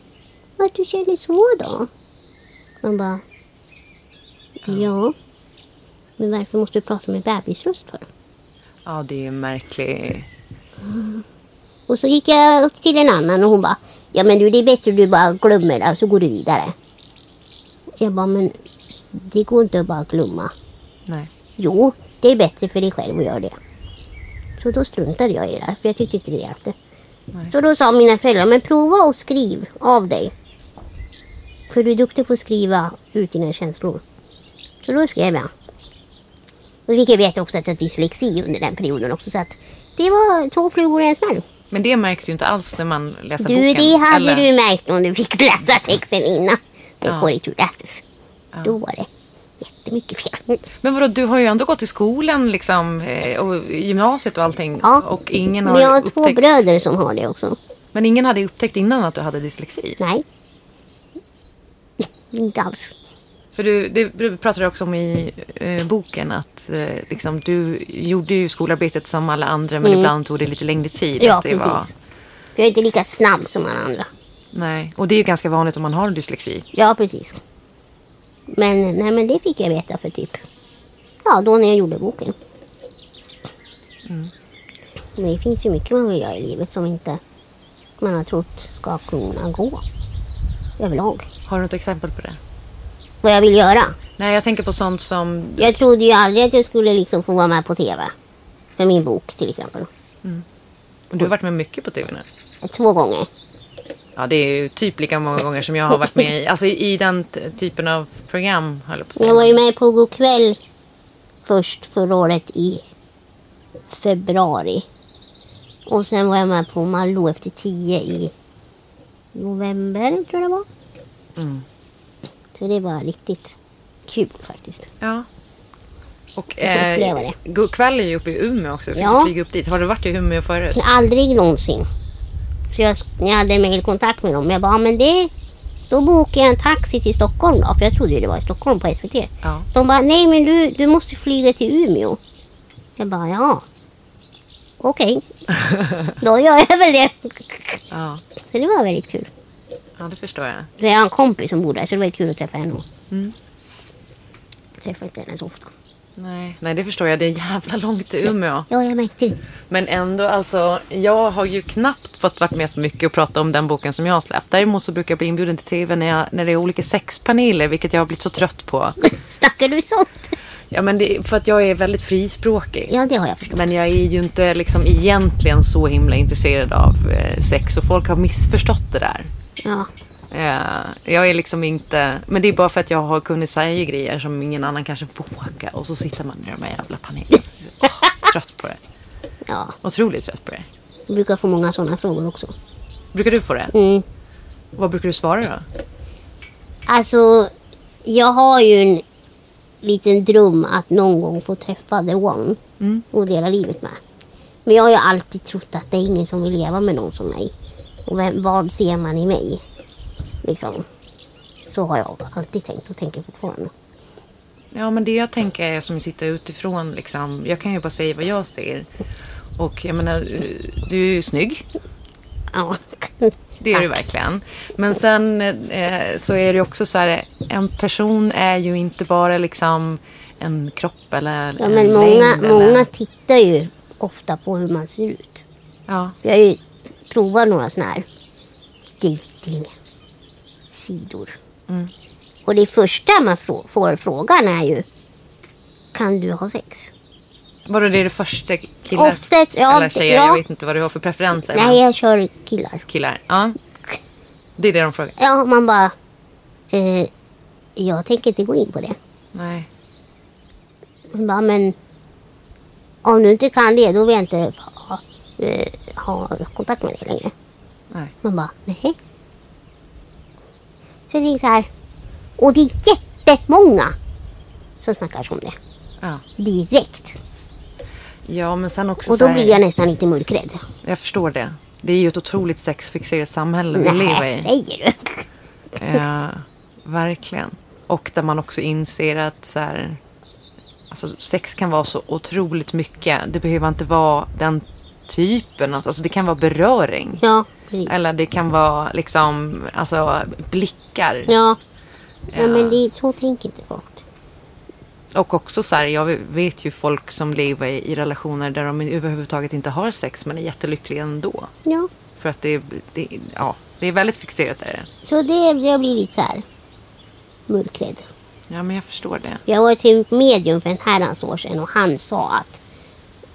E: att du känner så då? Man bara... Ja. Men varför måste du prata med bebisröst för?
D: Ja, det är märklig.
E: Och så gick jag upp till en annan och hon bara, ja men du det är bättre du bara glömmer det så går du vidare. Jag bara, men det går inte att bara glömma.
D: Nej.
E: Jo, det är bättre för dig själv att göra det. Så då struntade jag i det där, för jag tyckte inte det hjälpte. Så då sa mina föräldrar, men prova och skriv av dig. För du är duktig på att skriva ut dina känslor. Så då skrev jag. Och så fick jag veta också att jag hade dyslexi under den perioden också, så att det var två flugor i en smäll.
D: Men det märks ju inte alls när man läser
E: Du,
D: boken.
E: det hade
D: eller?
E: du märkt om du fick läsa texten innan det
D: Ja.
E: korrektur lästes. Då var det jättemycket fel.
D: Men vadå, du har ju ändå gått i skolan liksom, eh, och gymnasiet och allting.
E: Ja.
D: Och ingen har
E: Men jag har två
D: upptäckt...
E: bröder som har det också.
D: Men ingen hade ju upptäckt innan att du hade dyslexi.
E: Nej. Inte alls.
D: För du, det pratar du också om i eh, boken att eh, liksom, du gjorde ju skolarbetet som alla andra men ibland tog det lite längre tid.
E: Mm. Ja,
D: att det
E: precis.
D: Var,
E: För jag är inte lika snabb som alla andra.
D: nej. Och det är ju ganska vanligt om man har dyslexi.
E: Ja, precis. Men, nej, men det fick jag veta för typ... Ja, då när jag gjorde boken. Men det finns ju mycket man vill göra i livet som inte man har trott ska kunna gå. Överlag.
D: Har du något exempel på det?
E: Vad jag vill göra.
D: Nej, jag tänker på sånt som...
E: Jag trodde ju aldrig att jag skulle liksom få vara med på TV. För min bok till exempel.
D: Du har varit med mycket på tv nu.
E: Två gånger.
D: Ja, det är ju typ lika många gånger som jag har varit med i, alltså i den t- typen av program, höll jag på att
E: Jag var
D: säga.
E: ju med på God kväll först förra året i februari. Och sen var jag med på Malou efter tio i november tror jag det var. Så det var riktigt kul faktiskt.
D: Ja. Och
E: Jag får uppleva det.
D: god kväll är ju uppe i Umeå också. Du fick
E: Ja.
D: flyga upp dit. Har du varit i Umeå förut?
E: Aldrig någonsin. Så jag, jag hade mejlkontakt med dem. Jag bara, "Ja, men det... Då bokar jag en taxi till Stockholm då. För jag trodde ju det var i Stockholm på SVT.
D: Ja.
E: De bara, nej men du, du måste flyga till Umeå. Jag bara, ja. Okej. Då gör jag väl det.
D: Ja,
E: Så det var väldigt kul.
D: ja det förstår jag.
E: För jag har en kompis som bor där så det var kul att träffa henne. Jag träffar inte henne så ofta.
D: Nej. Nej, det förstår jag. Det är jävla långt till Umeå.
E: Ja, jag märkte det.
D: Men ändå, alltså, jag har ju knappt fått varit med så mycket och prata om den boken som jag har släppt. Däremot så brukar jag bli inbjuden till tv när, jag, när det är olika sexpaneler, vilket jag har blivit så trött på.
E: Snackar du sånt?
D: Ja, men det, för att jag är väldigt frispråkig.
E: Ja, det har jag förstått.
D: Men jag är ju inte liksom egentligen så himla intresserad av eh, sex och folk har missförstått det där.
E: Ja.
D: Eh, jag är liksom inte... Men det är bara för att jag har kunnat säga grejer som ingen annan kanske vågar. Och så sitter man i de här jävla panelerna. Åh, trött på det.
E: ja.
D: Otroligt trött på det.
E: Jag brukar få många sådana frågor också.
D: Brukar du få det?
E: Mm.
D: Vad brukar du svara då?
E: Alltså, jag har ju en liten dröm att någon gång få träffa the one
D: Mm.
E: och dela livet med. Men jag har ju alltid trott att det är ingen som vill leva med någon som mig. Och vem, vad ser man i mig? Liksom. Så har jag alltid tänkt och tänker fortfarande.
D: Ja, men det jag tänker är som sitter utifrån liksom. Jag kan ju bara säga vad jag ser. Och jag menar, eh, du är ju snygg.
E: Ja. [LAUGHS]
D: Det är det
E: Tack.
D: verkligen. Men sen eh, så är det också så här, en person är ju inte bara liksom en kropp eller
E: Ja,
D: en
E: men många,
D: längd.
E: många
D: Eller,
E: tittar ju ofta på hur man ser ut.
D: ja,
E: Jag har ju provat några sådana här dating-sidor. Och det första man frå- får frågan är ju Kan du ha sex?
D: var det det första killar
E: Oftast, ja,
D: eller tjejer?
E: ja.
D: Jag vet inte vad du har för preferenser.
E: Nej,
D: men
E: jag kör killar.
D: Killar. Ja. Det är det de frågar.
E: Ja, man bara eh, Jag tänker inte gå in på det.
D: Nej.
E: Man bara, men om du inte kan det, då vill jag inte ha, eh, ha kontakt med dig längre.
D: Nej.
E: Man bara, nej. Så det är så här. Och det är jättemånga som snackar om det.
D: Ja.
E: Direkt.
D: ja, men sen också
E: Och
D: så
E: då
D: här,
E: blir jag nästan inte mörkrädd.
D: Jag förstår det. Det är ju ett otroligt sexfixerat samhälle vi lever
E: Nej,
D: i.
E: säger du? [LAUGHS]
D: Ja, verkligen. Och där man också inser att så här, Alltså, sex kan vara så otroligt mycket. Det behöver inte vara den typen. av- Alltså, det kan vara beröring.
E: Ja, precis.
D: Eller det kan vara liksom, alltså, blickar.
E: Ja. ja, men det, är- så tänker inte folk.
D: Och också så här, jag vet ju folk som lever i, i relationer där de överhuvudtaget inte har sex men är jättelyckliga ändå.
E: Ja.
D: För att det, det, ja, det är väldigt fixerat är det.
E: Så det, jag blir lite så här mörkrädd.
D: Ja, men jag förstår det.
E: Jag var till medium för en herrans år sedan och han sa att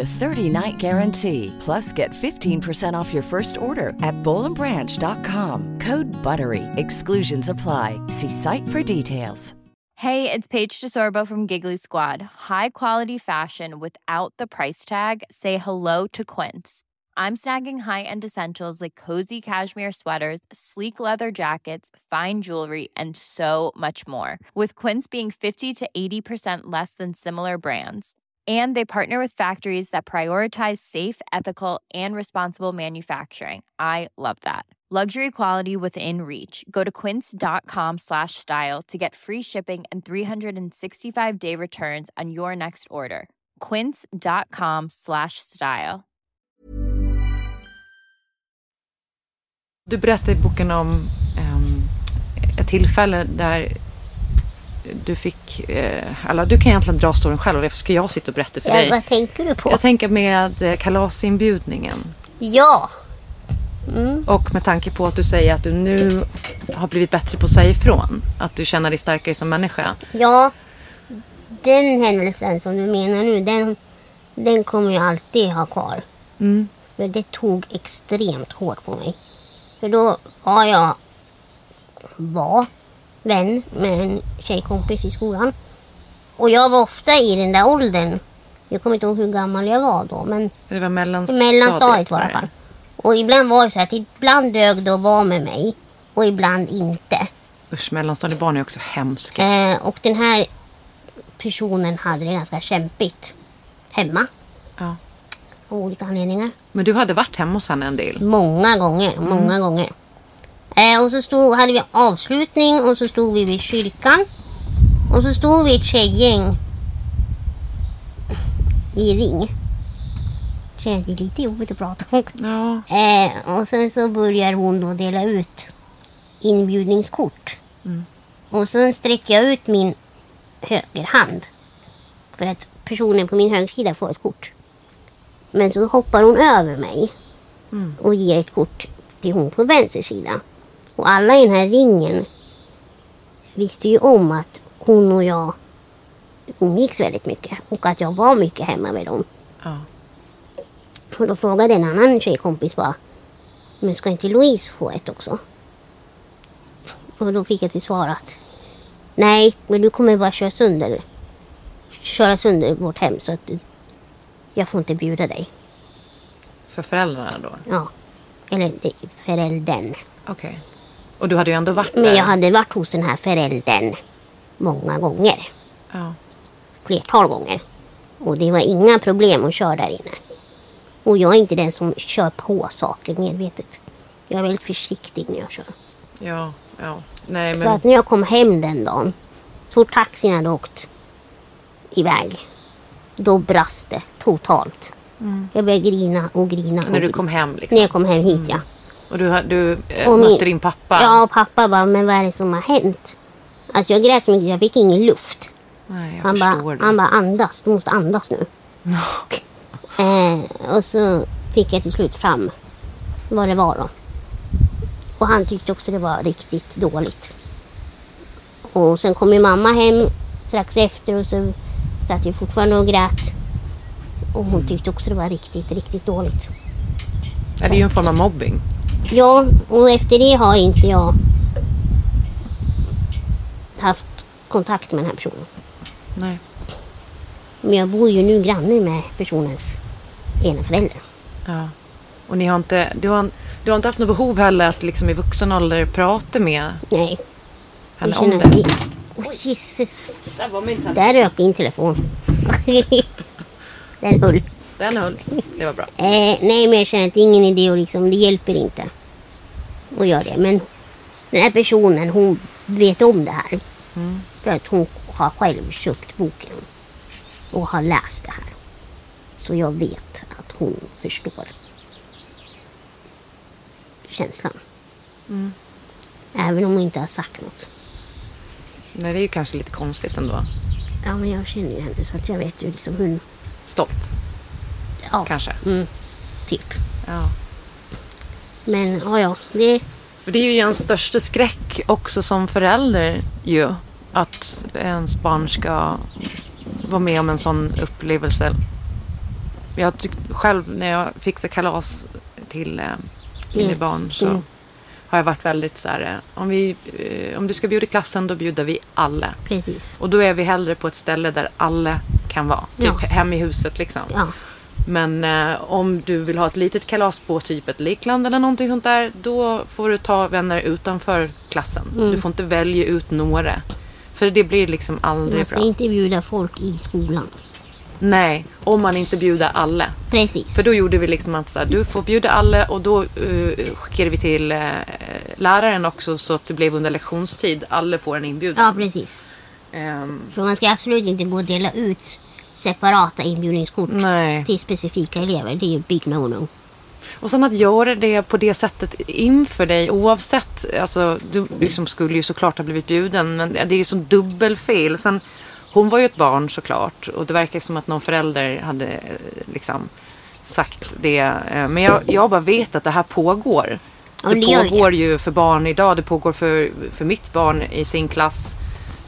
F: a 30-night guarantee. Plus, get 15% off your first order at bowlandbranch.com. Code BUTTERY. Exclusions apply. See site for details.
A: Hey, it's Paige DeSorbo from Giggly Squad. High quality fashion without the price tag. Say hello to Quince. I'm snagging high-end essentials like cozy cashmere sweaters, sleek leather jackets, fine jewelry, and so much more. With Quince being 50 to 80% less than similar brands. And they partner with factories that prioritize safe, ethical, and responsible manufacturing. I love that. Luxury quality within reach. Go to quince.com slash style to get free shipping and 365 day returns on your next order. Quince.com slash style.
D: Du berättade i boken om ehm, ett tillfälle där du fick, eh, eller du kan egentligen dra storyn själv. Varför ska jag sitta och berätta för
E: Ja,
D: dig?
E: vad tänker du på?
D: Jag tänker med eh, kalasinbjudningen.
E: Ja,
D: Och med tanke på att du säger att du nu har blivit bättre på att säga ifrån. Att du känner dig starkare som människa.
E: ja. Den händelsen som du menar nu, den, den kommer jag alltid ha kvar. För det tog extremt hårt på mig. För då var jag, var vän med en tjejkompis i skolan. Och jag var ofta i den där åldern. Jag kommer inte ihåg hur gammal jag var då, men
D: Det var mellanstadiet.
E: mellanstadiet var det i alla fall. Och ibland var det så att ibland dög det att vara med mig och ibland inte.
D: Usch, mellanstadiebarn är också hemska.
E: Eh, och den här personen hade det ganska kämpigt hemma.
D: Ja.
E: Av olika anledningar.
D: Men du hade varit hemma hos henne en del.
E: Många gånger, många gånger. Eh, och så stod, hade vi avslutning och så stod vi vid kyrkan. Och så stod vi ett tjejgäng i ring. Känns det lite jobbigt att prata om.
D: Ja.
E: Eh, och sen så börjar hon då dela ut inbjudningskort. Och sen sträcker jag ut min högerhand. För att personen på min högersida får ett kort. Men så hoppar hon över mig. Och ger ett kort till hon på vänster sida. Och alla i den här ringen visste ju om att hon och jag umgicks väldigt mycket. Och att jag var mycket hemma med dem.
D: ja.
E: Och då frågade en annan tjejkompis bara, men ska inte Louise få ett också? Och då fick jag till svar att, nej, men du kommer bara köra sönder, köra sönder vårt hem så att du, jag får inte bjuda dig.
D: För föräldrarna då?
E: Ja. Eller det- föräldern.
D: Okej. Och du hade ju ändå varit
E: Men
D: där.
E: jag hade varit hos den här föräldern många gånger.
D: Ja.
E: Flertal gånger. Och det var inga problem att köra där inne. Och jag är inte den som kör på saker medvetet. Jag är väldigt försiktig när jag kör.
D: Ja, ja. Nej,
E: Så
D: men
E: att när jag kom hem den dagen, så fort taxin hade åkt iväg, då brast det totalt. Jag började grina och grina.
D: Mm. när
E: och
D: du
E: grina.
D: kom hem liksom.
E: När jag kom hem hit ja.
D: Och du, har- du eh,
E: Och min-
D: mötte din pappa.
E: Ja, och pappa bara, men vad är det som har hänt? Alltså jag grät så mycket, jag fick ingen luft.
D: Nej, jag
E: Han
D: förstår
E: bara,
D: det.
E: han bara, andas, du måste
D: [LAUGHS]
E: andas nu. eh, och så fick jag till slut fram vad det var då. Och han tyckte också det var riktigt dåligt. Och sen kom ju mamma hem strax efter och så satt jag fortfarande och grät. Och hon tyckte också det var riktigt, riktigt dåligt.
D: Ja, det är ju en form av mobbing.
E: Ja, och efter det har inte jag haft kontakt med den här personen.
D: Nej.
E: Men jag bor ju nu granne med personens ena förälder.
D: Ja. Och ni har inte, du, har, du har inte haft något behov heller att liksom i vuxen ålder prata med
E: Nej,
D: henne om
E: känner
D: det?
E: att vi- Åh jisses. Där rök din telefon. [LAUGHS] Den höll.
D: Den höll. Det var bra.
E: Eh, nej, men jag känner att det är ingen idé och liksom, det hjälper inte att göra det. Men den här personen, hon vet om det här. För att hon har själv köpt boken och har läst det här. Så jag vet att hon förstår känslan. Mm. Även om hon inte har sagt något.
D: Nej, det är ju kanske lite konstigt ändå.
E: Ja, men jag känner ju henne så att jag vet ju liksom hur...
D: Stolt,
E: Ja,
D: kanske.
E: typ.
D: Ja.
E: Men ja, ja, det...
D: För det är ju ens största skräck också som förälder ju. Att ens barn ska vara med om en sån upplevelse. Jag tyckte själv när jag fixar kalas till eh, mina
E: Mm.
D: barn så har jag varit väldigt så här. eh, Om, vi, eh, om du ska bjuda klassen då bjuder vi alla.
E: Precis.
D: Och då är vi hellre på ett ställe där alla kan vara. Typ
E: Ja.
D: hem i huset liksom.
E: Ja,
D: Men eh, om du vill ha ett litet kalas på typ ett lekland eller någonting sånt där. Då får du ta vänner utanför klassen.
E: Mm.
D: Du får inte välja ut några. För det blir liksom
E: man
D: aldrig
E: ska
D: bra.
E: inte bjuda folk i skolan.
D: Nej, om man inte bjuder alla.
E: Precis.
D: För då gjorde vi liksom att så här, du får bjuda alla och då eh, skickade vi till eh, läraren också så att det blev under lektionstid. Alla får en
E: Ja,
D: inbjudan.
E: precis.
D: Ehm,
E: För man ska absolut inte gå och dela ut separata inbjudningskort
D: nej.
E: till specifika elever. Det är ju big no-no.
D: Och sen att göra det på det sättet inför dig oavsett. Alltså, du liksom skulle ju såklart ha blivit bjuden men det är ju sån dubbelfel. Sen, hon var ju ett barn såklart och det verkar som att någon förälder hade eh, liksom sagt det. Eh, Men jag, jag bara vet att det här pågår.
E: Ja,
D: det
E: det gör ju
D: pågår ju för barn idag. Det pågår för, för mitt barn i sin klass.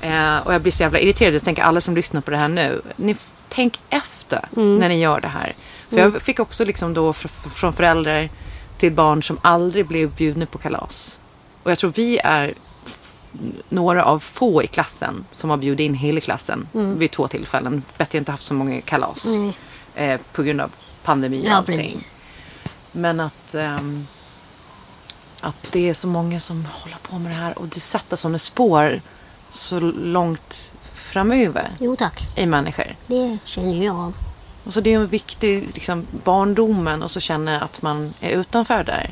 D: Eh, och jag blir så jävla irriterad. Jag tänker alla som lyssnar på det här nu. Ni f- tänk efter
E: Mm.
D: när ni gör det här. För jag fick också liksom då fr- fr- från föräldrar till barn som aldrig blev bjudna på kalas. Och jag tror vi är f- några av få i klassen som har bjudit in hela klassen
E: Mm.
D: vid två tillfällen. Betty har inte haft så många kalas eh, på grund av pandemi och
E: Ja,
D: allting.
E: precis.
D: Men att, ehm, att det är så många som håller på med det här och det sätter sådana spår så långt framöver
E: Jo tack,
D: i människor.
E: det känner ju jag av.
D: Och så det är en viktig liksom, barndomen och så känna att man är utanför där.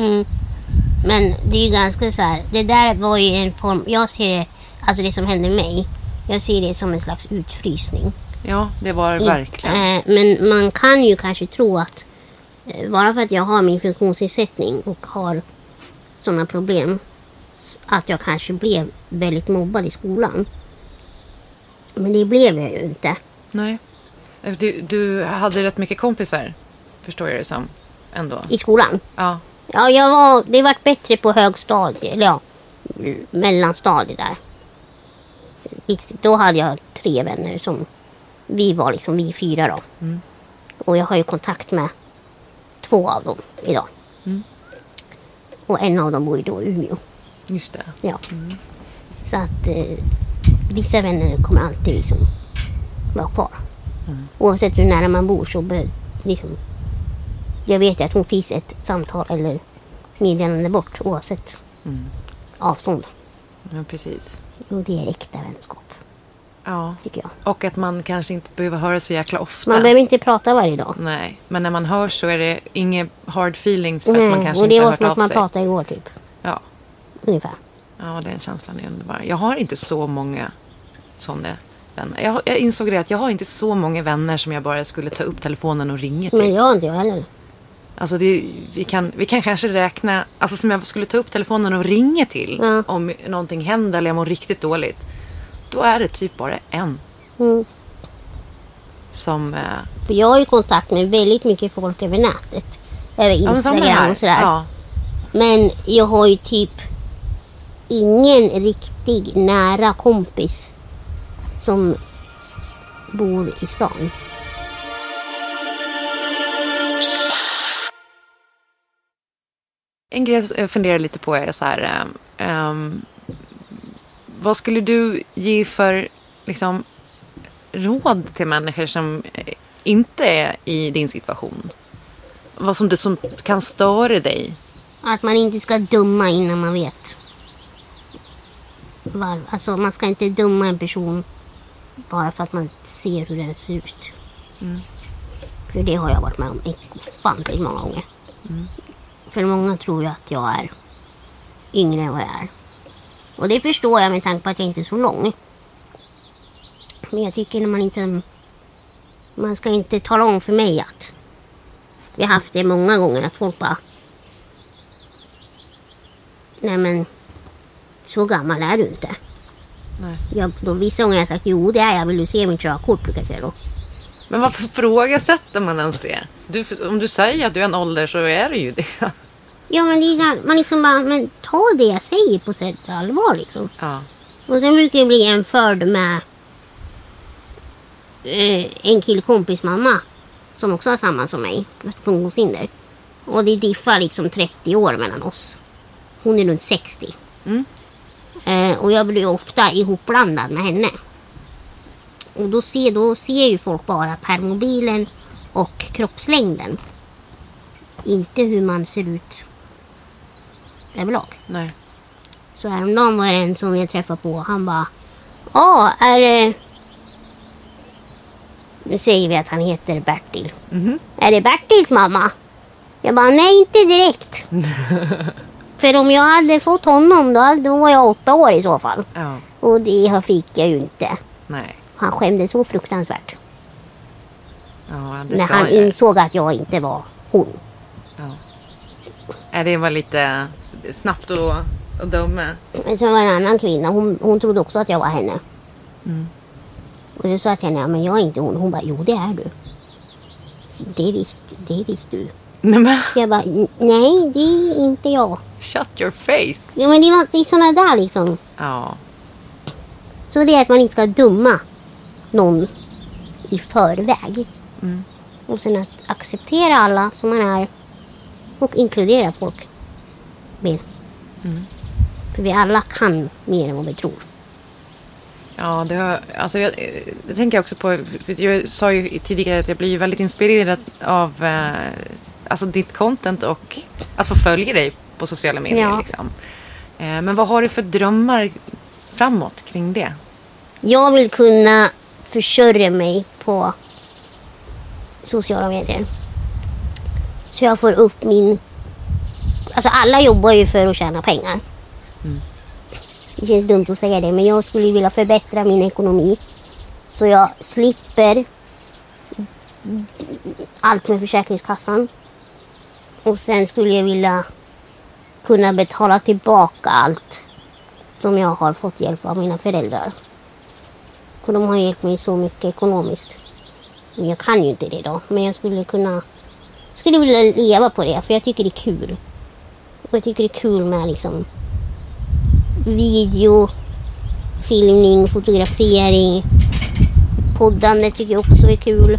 E: Men det är ju ganska så här, det där var ju en form, jag ser det, alltså det som hände mig, jag ser det som en slags utfrysning.
D: Ja, det var det verkligen.
E: Eh, men man kan ju kanske tro att eh, bara för att jag har min funktionsnedsättning och har sådana problem s- att jag kanske blev väldigt mobbad i skolan. Men det blev jag ju inte.
D: Nej. Eh, Du, du hade rätt mycket kompisar, förstår jag det som. Ändå.
E: I skolan.
D: Ja.
E: Ja, jag var, det vart bättre på högstadiet, eller ja, m- mellanstadiet där. Lite- Då hade jag tre vänner som, vi var liksom vi fyra då. Och jag har ju kontakt med två av dem idag. Och en av dem bor ju då i Umeå.
D: Just det.
E: Ja. Så att eh, vissa vänner kommer alltid liksom vara kvar.
D: Mm.
E: Oavsett hur nära man bor så be, liksom, jag vet ju att hon finns ett samtal eller meddelande bort
D: Mm.
E: oavsett avstånd.
D: Ja, precis.
E: Och det är äkta vänskap.
D: Ja.
E: tycker jag.
D: Och att man kanske inte behöver höra så jäkla ofta.
E: Man behöver inte prata varje dag.
D: Nej, men när man hör så är det inga hard feelings för att man
E: Nej,
D: kanske
E: Mm, och det
D: inte har
E: var
D: hört
E: som
D: av
E: att man
D: sig.
E: pratade igår typ.
D: Ja.
E: Ungefär.
D: ja, den känslan är underbar. Jag har inte så många sådana vänner. Jag, jag insåg det att jag har inte så många vänner som jag bara skulle ta upp telefonen och ringa till.
E: Men jag har inte jag heller.
D: Alltså det, vi, kan, vi kan kanske räkna, alltså som jag skulle ta upp telefonen och ringa till om någonting händer eller jag mår riktigt dåligt. Då är det typ bara en
E: Mm.
D: som... Eh,
E: För jag har ju kontakt med väldigt mycket folk över nätet. Över
D: ja, men som den
E: Instagram
D: här.
E: och sådär.
D: Ja,
E: Men jag har ju typ ingen riktig nära kompis som bor i stan.
D: En grej jag funderar lite på är så här... ehm, ehm, vad skulle du ge för liksom, råd till människor som eh, inte är i din situation? Vad som du som kan störa dig?
E: Att man inte ska döma innan man vet. Var, alltså man ska inte döma en person bara för att man ser hur den ser ut. För det har jag varit med om ofantligt många gånger. För många tror ju att jag är yngre än vad jag är. Och det förstår jag med tanke på att jag inte är så lång. Men jag tycker när man inte... Man ska inte tala om för mig att... Vi har haft det många gånger att folk bara... Nej men, så gammal är du inte.
D: Nej.
E: Jag, då vissa gånger har jag sagt jo det är jag, vill du se mitt körkort? brukar jag säga då.
D: Men varför frågasätter man ens det? Du, om du säger att du är en ålder så är det ju det. [LAUGHS]
E: Ja men det är så här, man liksom bara, men ta det jag säger på sätt och allvar liksom.
D: Ja.
E: Och sen brukar jag bli jämförd med eh, en killkompis mamma som också har samma som mig, ett funktionshinder. Och det diffar liksom 30 år mellan oss. Hon är runt 60. Eh, och jag blir ofta ihopblandad med henne. Och då ser, då ser ju folk bara permobilen och kroppslängden. Inte hur man ser ut överlag.
D: Nej.
E: Så häromdagen var det en som jag träffade på. Han bara. Ja, är det... Nu säger vi att han heter Bertil.
D: Mhm.
E: Är det Bertils mamma? Jag bara, nej inte
D: [LAUGHS]
E: direkt. För om jag hade fått honom då, hade- då var jag åtta år i så fall.
D: Ja.
E: Och det här fick jag ju inte.
D: Nej.
E: Han skämdes så fruktansvärt.
D: Ja, det
E: När
D: ska
E: han
D: jag.
E: insåg att jag inte var hon.
D: Ja, det var lite snabbt och, och döma.
E: Men sen var det en annan kvinna, hon, hon trodde också att jag var henne.
D: Mm.
E: Och jag sa till henne, "Ja, men jag är inte hon. Hon bara, jo det är du. Det är visst, det är visst du.
D: Nej, men
E: Jag bara, "N- nej det är inte jag.
D: shut your face.
E: Ja, men det, var, det är sådana där liksom.
D: Ja.
E: Så det är att man inte ska döma någon i förväg.
D: Mm.
E: Och sen att acceptera alla som man är och inkludera folk mer.
D: Mm.
E: För vi alla kan mer än vad vi tror.
D: Ja, det, har, alltså jag, det tänker jag också på. För jag sa ju tidigare att jag blir ju väldigt inspirerad av eh, alltså ditt content och att få följa dig på sociala medier.
E: Ja.
D: Liksom. Eh, men vad har du för drömmar framåt kring det?
E: Jag vill kunna försörja mig på sociala medier. Så jag får upp min... Alltså alla jobbar ju för att tjäna pengar. Det känns dumt att säga det, men jag skulle vilja förbättra min ekonomi. Så jag slipper allt med Försäkringskassan. Och sen skulle jag vilja kunna betala tillbaka allt som jag har fått hjälp av mina föräldrar. För de har hjälpt mig så mycket ekonomiskt. Men jag kan ju inte det idag. Men jag skulle kunna... Skulle vilja leva på det, för jag tycker det är kul. Och jag tycker det är kul med liksom video, filmning, fotografering. Poddande tycker jag också är kul.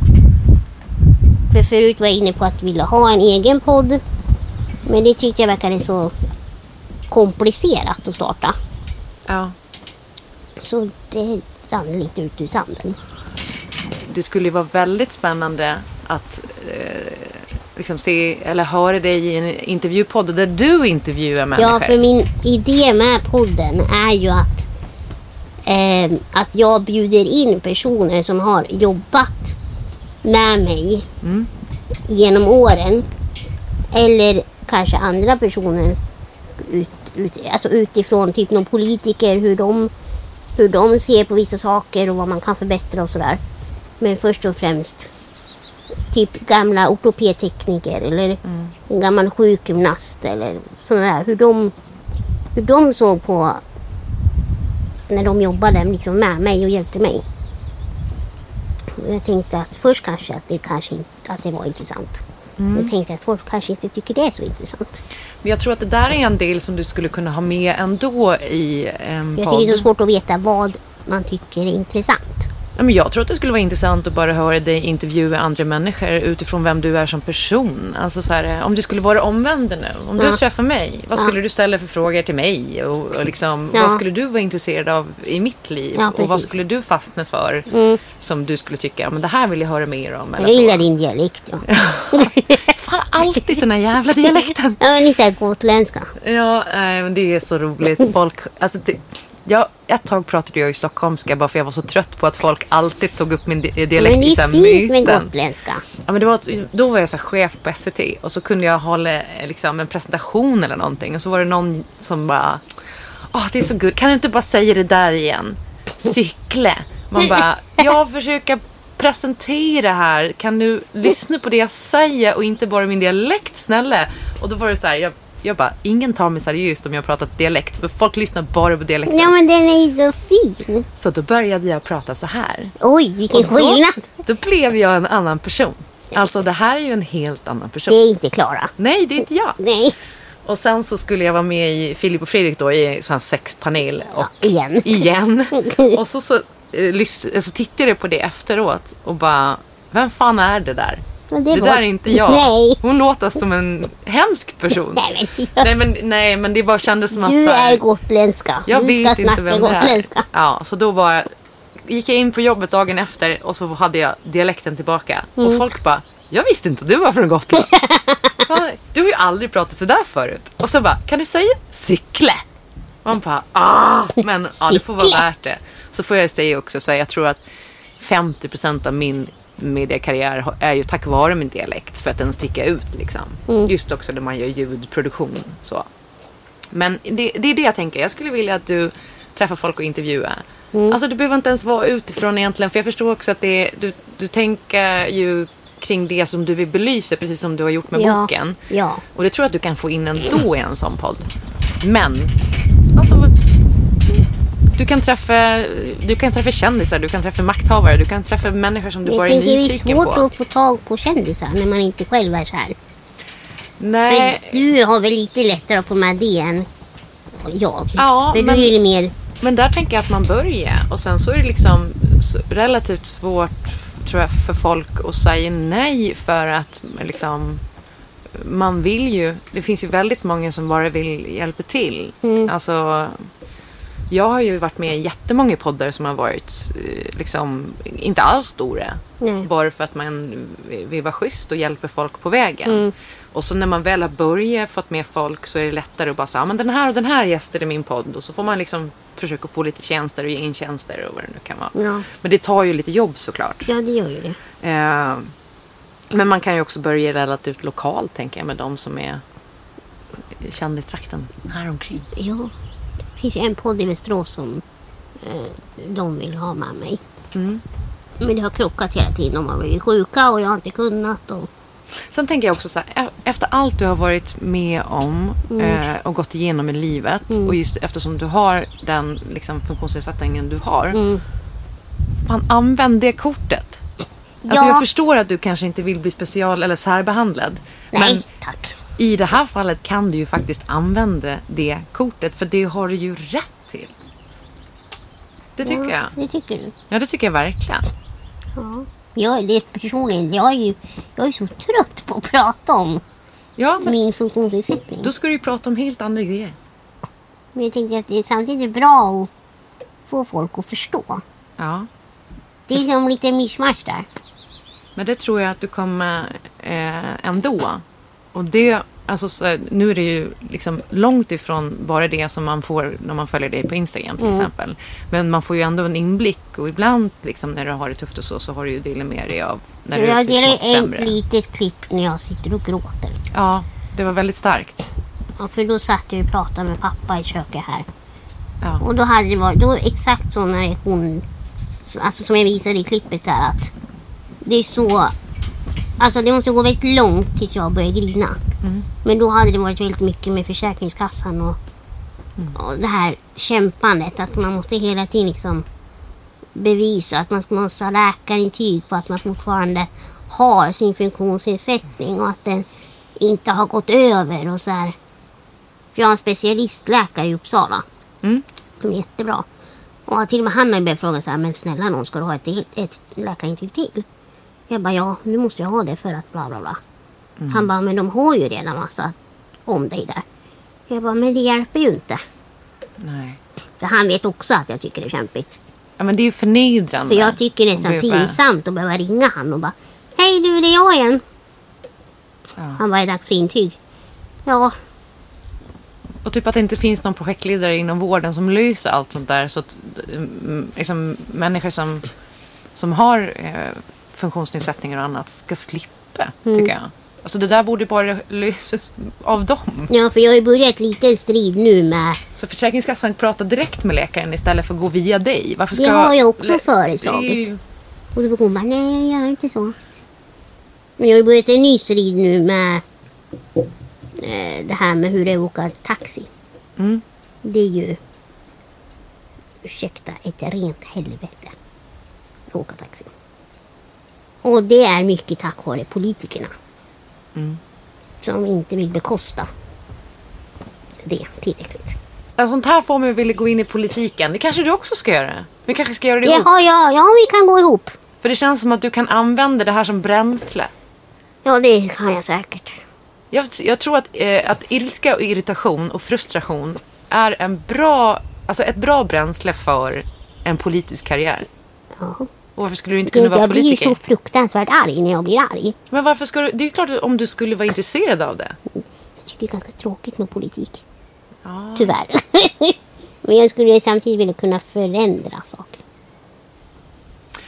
E: För förut var jag inne på att vilja ha en egen podd. Men det tyckte jag verkade så komplicerat att starta.
D: Ja.
E: Så det rann lite ut ur sanden.
D: Det skulle ju vara väldigt spännande att eh, liksom se eller höra dig i en intervjupodd där du intervjuar människor.
E: Ja, för min idé med podden är ju att eh, eh, att jag bjuder in personer som har jobbat med mig genom åren. Eller kanske andra personer ut, ut, alltså utifrån typ någon politiker, hur de, hur de ser på vissa saker och vad man kan förbättra och sådär. Men först och främst typ gamla ortopedtekniker eller en gammal sjukgymnast eller sådana där. Hur de, hur de såg på när de jobbade liksom med mig och hjälpte mig. Och Jag tänkte att först kanske att det, kanske inte, att det var intressant. Jag tänkte att folk kanske inte tycker det är så intressant.
D: Men jag tror att det där är en del som du skulle kunna ha med ändå i eh, en
E: Jag tycker det är
D: podd.
E: så svårt att veta vad man tycker är intressant.
D: Ja, men jag tror att det skulle vara intressant att bara höra dig intervjua andra människor utifrån vem du är som person. Alltså så här, eh, om du skulle vara omvänd nu, om du träffar mig, vad skulle du ställa för frågor till mig? Och, och liksom,
E: Ja.
D: Vad skulle du vara intresserad av i mitt liv?
E: Ja,
D: och vad
E: precis. Mm.
D: skulle du fastna för som du skulle tycka, men det här vill jag höra mer om? Eller
E: Jag gillar
D: så.
E: din dialekt. Ja,
D: Fan, alltid den här jävla
E: [LAUGHS]
D: dialekten.
E: ja men lite gotländska.
D: Ja, nej, men det är så roligt. Folk, alltså det, jag, ett tag pratade jag ju stockholmska bara för jag var så trött på att folk alltid tog upp min di- dialekt
E: Men det
D: i så här
E: är fint med
D: myten.
E: gotländska.
D: Ja, men det var, då var jag så här chef på SVT och så kunde jag hålla eh, liksom, en presentation eller någonting och så var det någon som bara Åh, det är så gud. Kan du inte bara säga det där igen? Cykle. Man bara, jag försöker presentera här. Kan du lyssna på det jag säger och inte bara min dialekt snälla? Och då var det så här, jag, jag bara, ingen tar mig seriöst om jag har pratat dialekt för folk lyssnar bara på dialekten.
E: Ja men den är ju så fin.
D: Så då började jag prata så här.
E: Oj vilken
D: Och då,
E: skillnad.
D: då blev jag en annan person. Alltså det här är ju en helt annan
E: Det
D: person.
E: är inte Klara.
D: Nej, det är inte jag.
E: Nej,
D: Och sen så skulle jag vara med i Filip och Fredrik då i en sån här sexpanel. Och
E: igen. [LAUGHS]
D: igen. Och så, så, eh, lys- så tittade jag på det efteråt och bara, vem fan är det där?
E: Men
D: Det,
E: var-
D: där är inte jag.
E: Nej.
D: Hon låter som en hemsk person.
E: [LAUGHS] Nej, men jag-
D: nej, men, nej, men det bara kändes som att...
E: Du
D: så här-
E: är gotländska.
D: jag
E: du
D: vet
E: ska
D: inte
E: snacka
D: vem det är.
E: gotländska.
D: Ja, så då bara gick jag in på jobbet dagen efter och så hade jag dialekten tillbaka.
E: Mm.
D: Och folk bara, jag visste inte att du var från
E: [LAUGHS]
D: Gotland. Fan, du har ju aldrig pratat sådär förut. Och så bara, kan du säga cykle? Man bara, ah, men ja, det får vara
E: Cykle.
D: värt det. Så får jag säga också, så här, jag tror att 50% av min mediekarriär har- är ju tack vare min dialekt för att den sticker ut liksom.
E: Mm.
D: Just också när man gör ljudproduktion så. Men det, det är det jag tänker. Jag skulle vilja att du träffar folk och intervjuar.
E: Mm.
D: Alltså du behöver inte ens vara utifrån egentligen. För jag förstår också att det är, du, du tänker ju kring det som du vill belysa. Precis som du har gjort med
E: Ja,
D: boken.
E: ja.
D: Och det tror jag att du kan få in ändå i en sån podd. Men, alltså. Du kan, träffa, du kan träffa kändisar, du kan träffa makthavare, du kan träffa människor som du
E: Jag
D: bara är
E: tänker det är
D: nyfiken
E: svårt
D: på.
E: att få tag på kändisar när man inte själv är så här.
D: Nej,
E: För du har väl lite lättare att få med det än jag.
D: Ja,
E: För
D: men-
E: du är ju mer...
D: Men där tänker jag att man börjar och sen så är det liksom s- relativt svårt tror jag för folk att säga nej för att liksom man vill ju, det finns ju väldigt många som bara vill hjälpa till.
E: Mm.
D: Alltså, jag har ju varit med i jättemånga poddar som har varit eh, liksom inte alls stora.
E: Nej.
D: Bara för att man vill vara schysst och hjälper folk på vägen.
E: Mm.
D: Och så när man väl har börjat fått med folk så är det lättare att bara säga "Ah, men den här och den här gästen i min podd. Och så får man liksom försöka få lite tjänster och ge in tjänster och vad det nu kan vara.
E: Ja.
D: Men det tar ju lite jobb såklart.
E: Ja, det gör ju det.
D: Eh, men man kan ju också börja relativt lokalt tänker jag med de som är kända i trakten här omkring.
E: Ja. Det finns ju en podd i Västerås som eh, de vill ha med mig.
D: Mm.
E: Men det har krockat hela tiden. De har blivit sjuka och jag har inte kunnat. Och...
D: Sen tänker jag också så här, e- efter allt du har varit med om
E: Mm.
D: eh, och gått igenom i livet och just eftersom du har den liksom, funktionsnedsättningen du har.
E: Mm.
D: Fan, använd det kortet. Alltså
E: Ja.
D: jag förstår att du kanske inte vill bli special eller särbehandlad.
E: Nej,
D: Men
E: tack.
D: i det här fallet kan du ju faktiskt använda det kortet för det har du ju rätt till. Det tycker jag.
E: Det tycker du.
D: Ja, det tycker jag verkligen.
E: Ja. Jag, det är personligen, jag är, ju, jag är så trött på att prata om
D: Ja, men
E: min funktionsnedsättning.
D: då ska du ju prata om helt andra grejer.
E: Men jag tänkte att det är samtidigt bra att få folk att förstå.
D: Ja.
E: Det är som lite mischmasch där.
D: Men det tror jag att du kommer eh, ändå. Och det Alltså, så, här, nu är det ju liksom långt ifrån bara det som man får när man följer dig på Instagram till exempel. Men man får ju ändå en inblick och ibland liksom, när du har det tufft och så, så har du ju delat med dig av när du
E: Jag
D: typ
E: delar
D: mått
E: ett
D: sämre.
E: litet klipp när jag sitter och gråter.
D: Ja, det var väldigt starkt.
E: Ja, för då satt jag och pratade med pappa i köket här.
D: Ja.
E: Och då hade det varit, då exakt sån reaktion, alltså som jag visade i klippet där att det är så, alltså det måste gå väldigt långt tills jag börjar grina. Men då hade det varit väldigt mycket med Försäkringskassan och, och det här kämpandet att man måste hela tiden liksom bevisa att man ska- måste ha läkarintyg på att man fortfarande har sin funktionsnedsättning och att den inte har gått över och så här. För jag har en specialistläkare i Uppsala som är jättebra. Och han- till och med han har ju börjat fråga så här, men snälla någon, ska du ha ett, till- ett läkarintyg till? Jag bara, ja, nu måste jag ha det för att bla bla bla. Han bara, men de har ju redan massa om dig där. Jag bara, men det hjälper ju inte.
D: Nej.
E: För han vet också att jag tycker det är kämpigt.
D: Ja, men det är ju förnedrande.
E: För jag tycker det är
D: Och
E: nästan
D: bara-
E: pinsamt att behöva ringa han och bara Hej du, det är jag igen. Han bara, är det dags för intyg? Ja,
D: Och typ att det inte finns någon projektledare inom vården som löser allt sånt där. Så att mm, liksom, människor som, som har eh, funktionsnedsättningar och annat ska slippa,
E: Mm.
D: tycker jag. Alltså det där borde bara lösas av dem.
E: ja för jag har ju börjat lite strid nu med
D: Så Försäkringskassan pratar direkt med läkaren istället för att gå via dig. Varför ska
E: Det har jag också
D: Lä-
E: föreslagit.
D: Det är ju-
E: Och då hon bara, nej jag gör inte så. Men jag har ju börjat en ny strid nu med eh, det här med hur det är att åka taxi.
D: Mm.
E: Det är ju, ursäkta, ett rent helvete att åka taxi. Och det är mycket tack vare politikerna.
D: Mm.
E: Som inte vill bekosta det tillräckligt.
D: Ja, Alltså, Sånt här får mig att vilja gå in i politiken. Det kanske du också ska göra. Vi kanske ska göra det
E: Det
D: ihop.
E: har jag, ja vi kan gå ihop.
D: För det känns som att du kan använda det här som bränsle.
E: Ja det kan jag säkert.
D: Jag, jag tror att, eh, att ilska och irritation och frustration är en bra, alltså ett bra bränsle för en politisk karriär.
E: Ja.
D: Och varför skulle du inte kunna
E: Gud,
D: vara
E: jag blir ju
D: politiker?
E: så fruktansvärt arg när jag blir arg.
D: Men varför ska du, det är ju klart att om du skulle vara intresserad av det.
E: Jag tycker det är ganska tråkigt med politik.
D: Ah.
E: Tyvärr. [LAUGHS] Men jag skulle ju samtidigt vilja kunna förändra saker.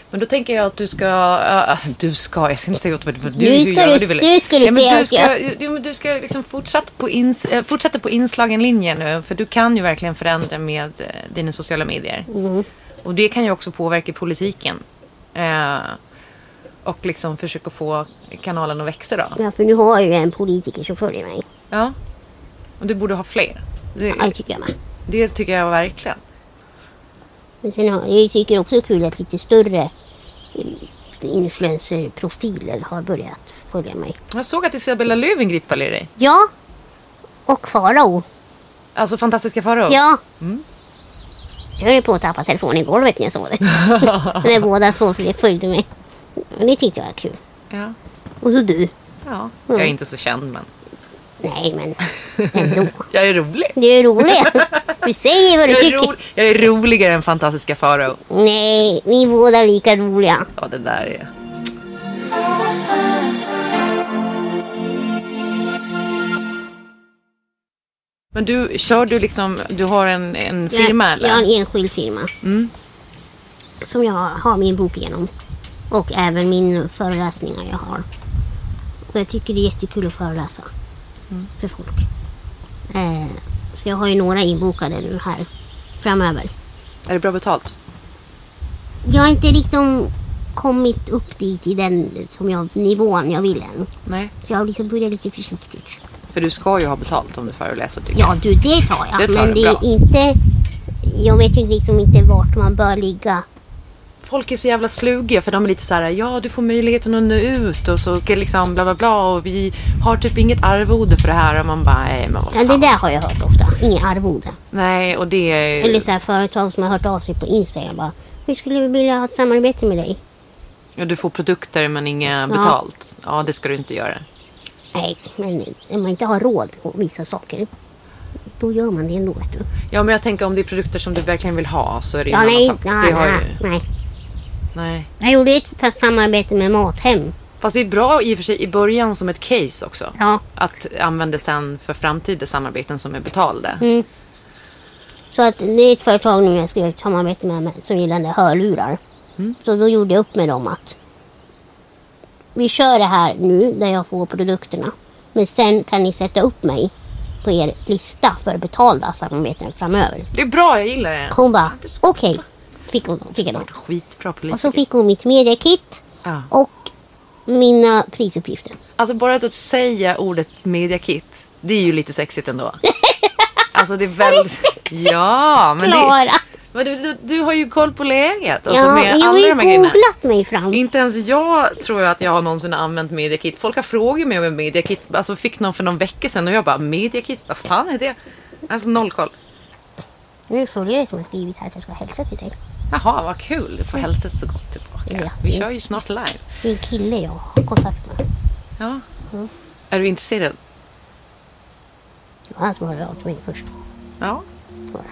D: Men då tänker jag att du ska, äh, du ska, jag ska inte säga åt vad du,
E: Nu
D: hur
E: ska
D: gör
E: du-
D: vad vill.
E: nu ska du
D: ja, men
E: säga
D: du
E: åt
D: ska,
E: jag.
D: jo, men du ska liksom fortsätta på, ins, eh, fortsätta på inslagen linje nu. För du kan ju verkligen förändra med eh, dina sociala medier.
E: Mm.
D: Och det kan ju också påverka politiken. Eh, och liksom försöka få kanalen att växa då.
E: Ja, för nu har jag ju en politiker som följer mig.
D: Ja. Och du borde ha fler. Det,
E: Ja, det tycker jag med.
D: det tycker jag verkligen.
E: Men sen har, jag tycker också det är kul att lite större eh, influencerprofiler har börjat följa mig.
D: Jag såg att Isabella Löwengrip följer dig.
E: Ja, och Farao.
D: Alltså fantastiska Farao.
E: Ja.
D: Mm.
E: Jag höll ju på att tappa telefonen i golvet när jag
D: [LAUGHS]
E: såg det. när båda föl- följde mig. Men det tyckte jag var kul.
D: ja.
E: Och så du.
D: Ja. Jag
E: Mm.
D: är inte så känd men.
E: Nej, men ändå.
D: Jag är rolig.
E: Du är rolig. Du säger vad du
D: Jag är,
E: tycker.
D: ro- jag är roligare än fantastiska Farao.
E: Nej, vi är båda lika roliga.
D: Ja, det där är... Men du, kör du liksom... Du har en, en firma
E: jag,
D: eller? Mm.
E: jag har en enskild firma. Som jag har min bok genom. Och även min föreläsningar jag har. Och jag tycker det är jättekul att föreläsa.
D: Mm.
E: För folk. Eh, så jag har ju några inbokade nu här framöver.
D: Är det bra betalt?
E: Jag har inte liksom kommit upp dit i den som jag, nivån jag vill än.
D: Nej.
E: Så jag har liksom börjat lite försiktigt.
D: För du ska ju ha betalt om du föreläser tycker
E: Ja, du, det tar jag.
D: Det tar
E: men
D: du
E: det
D: bra.
E: är inte... Jag vet ju liksom inte vart man bör ligga.
D: Folk är så jävla slugiga för de är lite så här, ja du får möjligheten att nå ut och så liksom bla bla bla och vi har typ inget arvode för det här och man bara, nej men vad
E: Ja,
D: fan.
E: det där har jag hört ofta. Inga arvode.
D: Nej och det är ju...
E: Eller så här företag som har hört av sig på Instagram bara. Vi skulle vilja ha ett samarbete med dig.
D: Ja, du får produkter men inga betalt. Ja, det ska du inte göra.
E: Nej, men om man inte har råd på vissa saker. Då gör man det ändå, vet du.
D: Ja, men jag tänker om det är produkter som du verkligen vill ha så är det ju
E: Ja,
D: en annan
E: nej,
D: sak.
E: nej,
D: det har
E: nej,
D: ju...
E: nej.
D: Nej.
E: Jag gjorde ett fast samarbete med Mathem
D: Fast det är bra i och för sig i början som ett case också.
E: Ja.
D: Att använda sen för framtida samarbeten som är betalda.
E: Mm. Så att det är ett företag nu jag ska göra ett samarbete med, med som gillade hörlurar.
D: Mm.
E: Så då gjorde jag upp med dem att vi kör det här nu där jag får produkterna. Men sen kan ni sätta upp mig på er lista för betalda samarbeten framöver.
D: Det är bra, jag gillar det.
E: Hon bara okej. Fick hon fick jag dem.
D: Skitbra
E: Och så
D: politiker.
E: fick hon mitt mediakit
D: Ja.
E: och mina prisuppgifter.
D: Alltså bara att säga ordet mediakit, det är ju lite sexigt ändå.
E: [LAUGHS]
D: Alltså det är väldigt... Ja, men det...
E: Klara!
D: Men du, du, du har ju koll på läget. Alltså,
E: Ja,
D: med
E: men jag har
D: alla
E: ju
D: de här grejerna.
E: googlat mig fram.
D: Inte ens jag tror att jag har någonsin använt mediakit. Folk har frågat mig om en mediakit. Alltså fick någon för någon vecka sedan och jag bara mediakit, vad fan är det? Alltså noll koll.
E: Nu är det följare som har skrivit här att jag ska hälsa till dig.
D: Jaha, vad kul. Du får hälsa så gott tillbaka.
E: Ja.
D: Vi kör ju snart live.
E: Det är en kille jag har kontakt med.
D: Ja. Är du intresserad?
E: Det var han som hörde av till mig först.
D: Ja.
E: tror jag.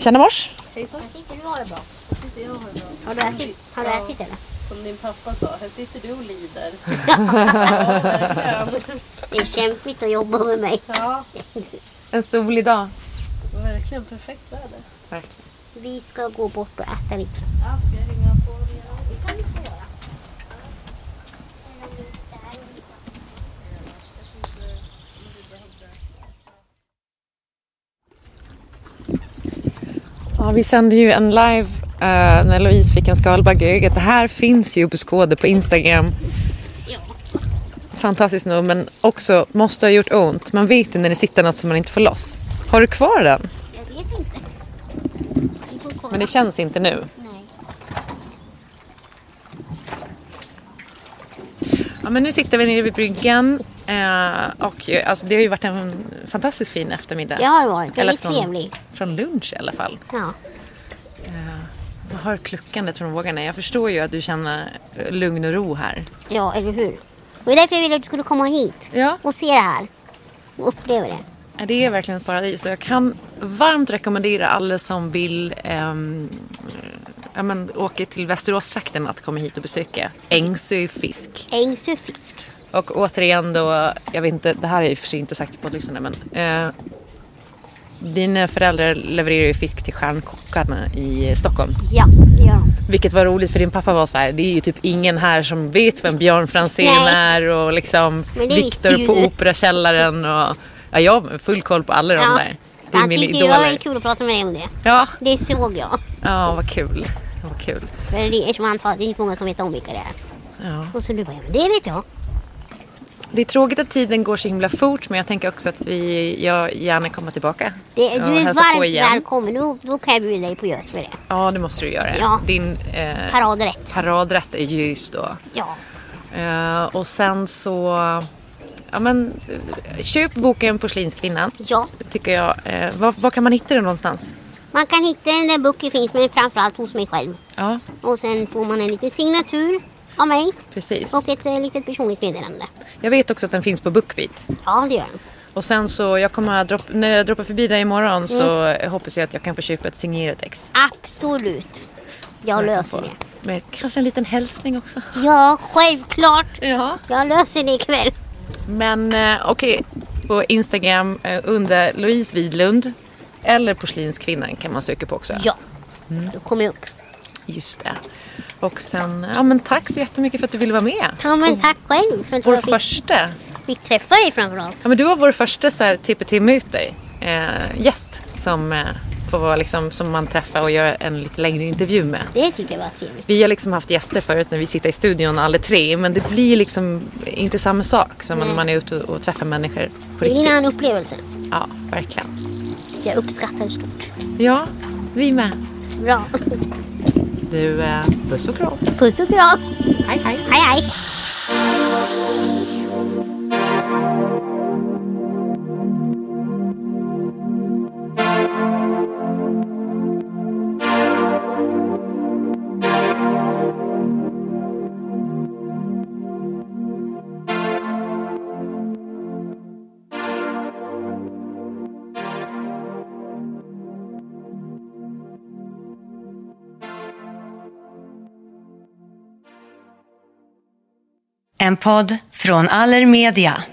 B: Tjena mors.
E: Här sitter du och har det bra. Har du ätit, har du ätit eller?
G: Som din pappa sa, här sitter du och lider.
E: Det är kämpigt att jobba med mig.
G: Ja,
D: En solig dag.
G: verkligen perfekt väder.
E: [LAUGHS] Vi ska gå bort och äta lite.
G: Ja, ska jag hänga på
D: Ja, vi sände ju en live eh, när Louise fick en skalbagge i ögat. Det här finns ju uppskåde på Instagram. Fantastiskt nog, men också måste ha gjort ont. Man vet ju när det sitter något som man inte får loss. Har du kvar den?
E: Jag vet inte. Vi får kolla.
D: Men det känns inte nu.
E: Nej.
D: Ja, men nu sitter vi nere vid bryggan. Eh, och ju- alltså, det har ju varit en fantastiskt fin eftermiddag.
E: Det har det varit.
D: Eller
E: Väldigt
D: från,
E: trevlig.
D: Från lunch i alla fall.
E: Ja.
D: Man hör kluckandet från vågorna. Jag förstår ju att du känner eh, lugn och ro här.
E: ja, eller hur? Det var därför jag ville att du skulle komma hit
D: Ja.
E: och se det här. Och uppleva det.
D: Ja, Det är verkligen ett paradis och jag kan varmt rekommendera alla som vill ehm, ja, men, åka till Västeråstrakten att komma hit och besöka Ängsö fisk.
E: Ängsö fisk.
D: Och återigen då, jag vet inte, det här är ju för sig inte sagt på lyssnarna men eh, dina föräldrar levererar ju fisk till stjärnkockarna i Stockholm.
E: Ja, det gör de.
D: Vilket var roligt för din pappa var så här, det är ju typ ingen här som vet vem Björn Franzén
E: Nej.
D: är och liksom
E: Men det visste
D: Viktor
E: ju
D: på
E: du.
D: Operakällaren och ja, jag har full koll på alla de
E: Ja.
D: där. Det är
E: Han
D: mina
E: tyckte det var
D: idoler.
E: kul att prata med dig om det.
D: Ja,
E: Det såg jag.
D: ja vad kul. Vad kul.
E: För det, eftersom han sa att det är inte många som vet om vilka det är.
D: Ja.
E: Och så du bara, ja, men det vet jag.
D: Det är tråkigt att tiden går så himla fort men jag tänker också att vi, jag gärna kommer tillbaka.
E: Det,
D: och
E: du är
D: hälsa på igen.
E: varmt välkommen. Då, då kan jag bjuda dig på gös för det.
D: Ja, det måste du göra.
E: Ja.
D: Din eh,
E: Paradrätt.
D: paradrätt är ljus då.
E: Ja.
D: Eh, och sen så... Ja, men, eh, köp boken Porslinskvinnan.
E: Ja.
D: Det tycker jag. Eh, var, var kan man hitta den någonstans?
E: Man kan hitta den där boken finns men framförallt hos mig själv.
D: Ja,
E: Och sen får man en liten signatur av mig
D: precis.
E: och ett eh, litet personligt meddelande.
D: Jag vet också att den finns på Bookbeat.
E: Ja, det gör den.
D: Och sen så, jag kommer att dropp, när jag droppar förbi dig imorgon så hoppas jag att jag kan få köpa ett signerat ex.
E: Absolut. Jag
D: Så kan
E: löser
D: få-
E: det.
D: Med Alltså, kanske en liten hälsning också.
E: Ja, självklart.
D: Ja.
E: Jag löser det ikväll.
D: Men eh, okej, på Instagram eh, under Louise Widlund eller Porslinskvinnan kan man söka på också.
E: Ja.
D: Mm.
E: Då kommer jag upp.
D: Just det. Och sen, ja men tack så jättemycket för att du ville vara med.
E: Ja, men tack själv för att
D: Vår
E: jag fick,
D: första,
E: fick träffa dig framförallt.
D: ja men du var vår första så här TPT-möter, eh, gäst som eh, får vara liksom, som man träffar och gör en lite längre intervju med.
E: Det tycker jag var trevligt.
D: Vi har liksom haft gäster förut när vi sitter i studion alla tre men det blir liksom inte samma sak som när man är ute och, och träffar människor på
E: Det är en annan
D: riktigt.
E: upplevelse.
D: Ja, verkligen.
E: Jag uppskattar det stort.
D: Ja, vi med.
E: Bra.
D: Du, eh, puss och kram.
E: Puss och kram.
D: Hej, hej.
E: Hej, hej.
H: En podd från Allermedia.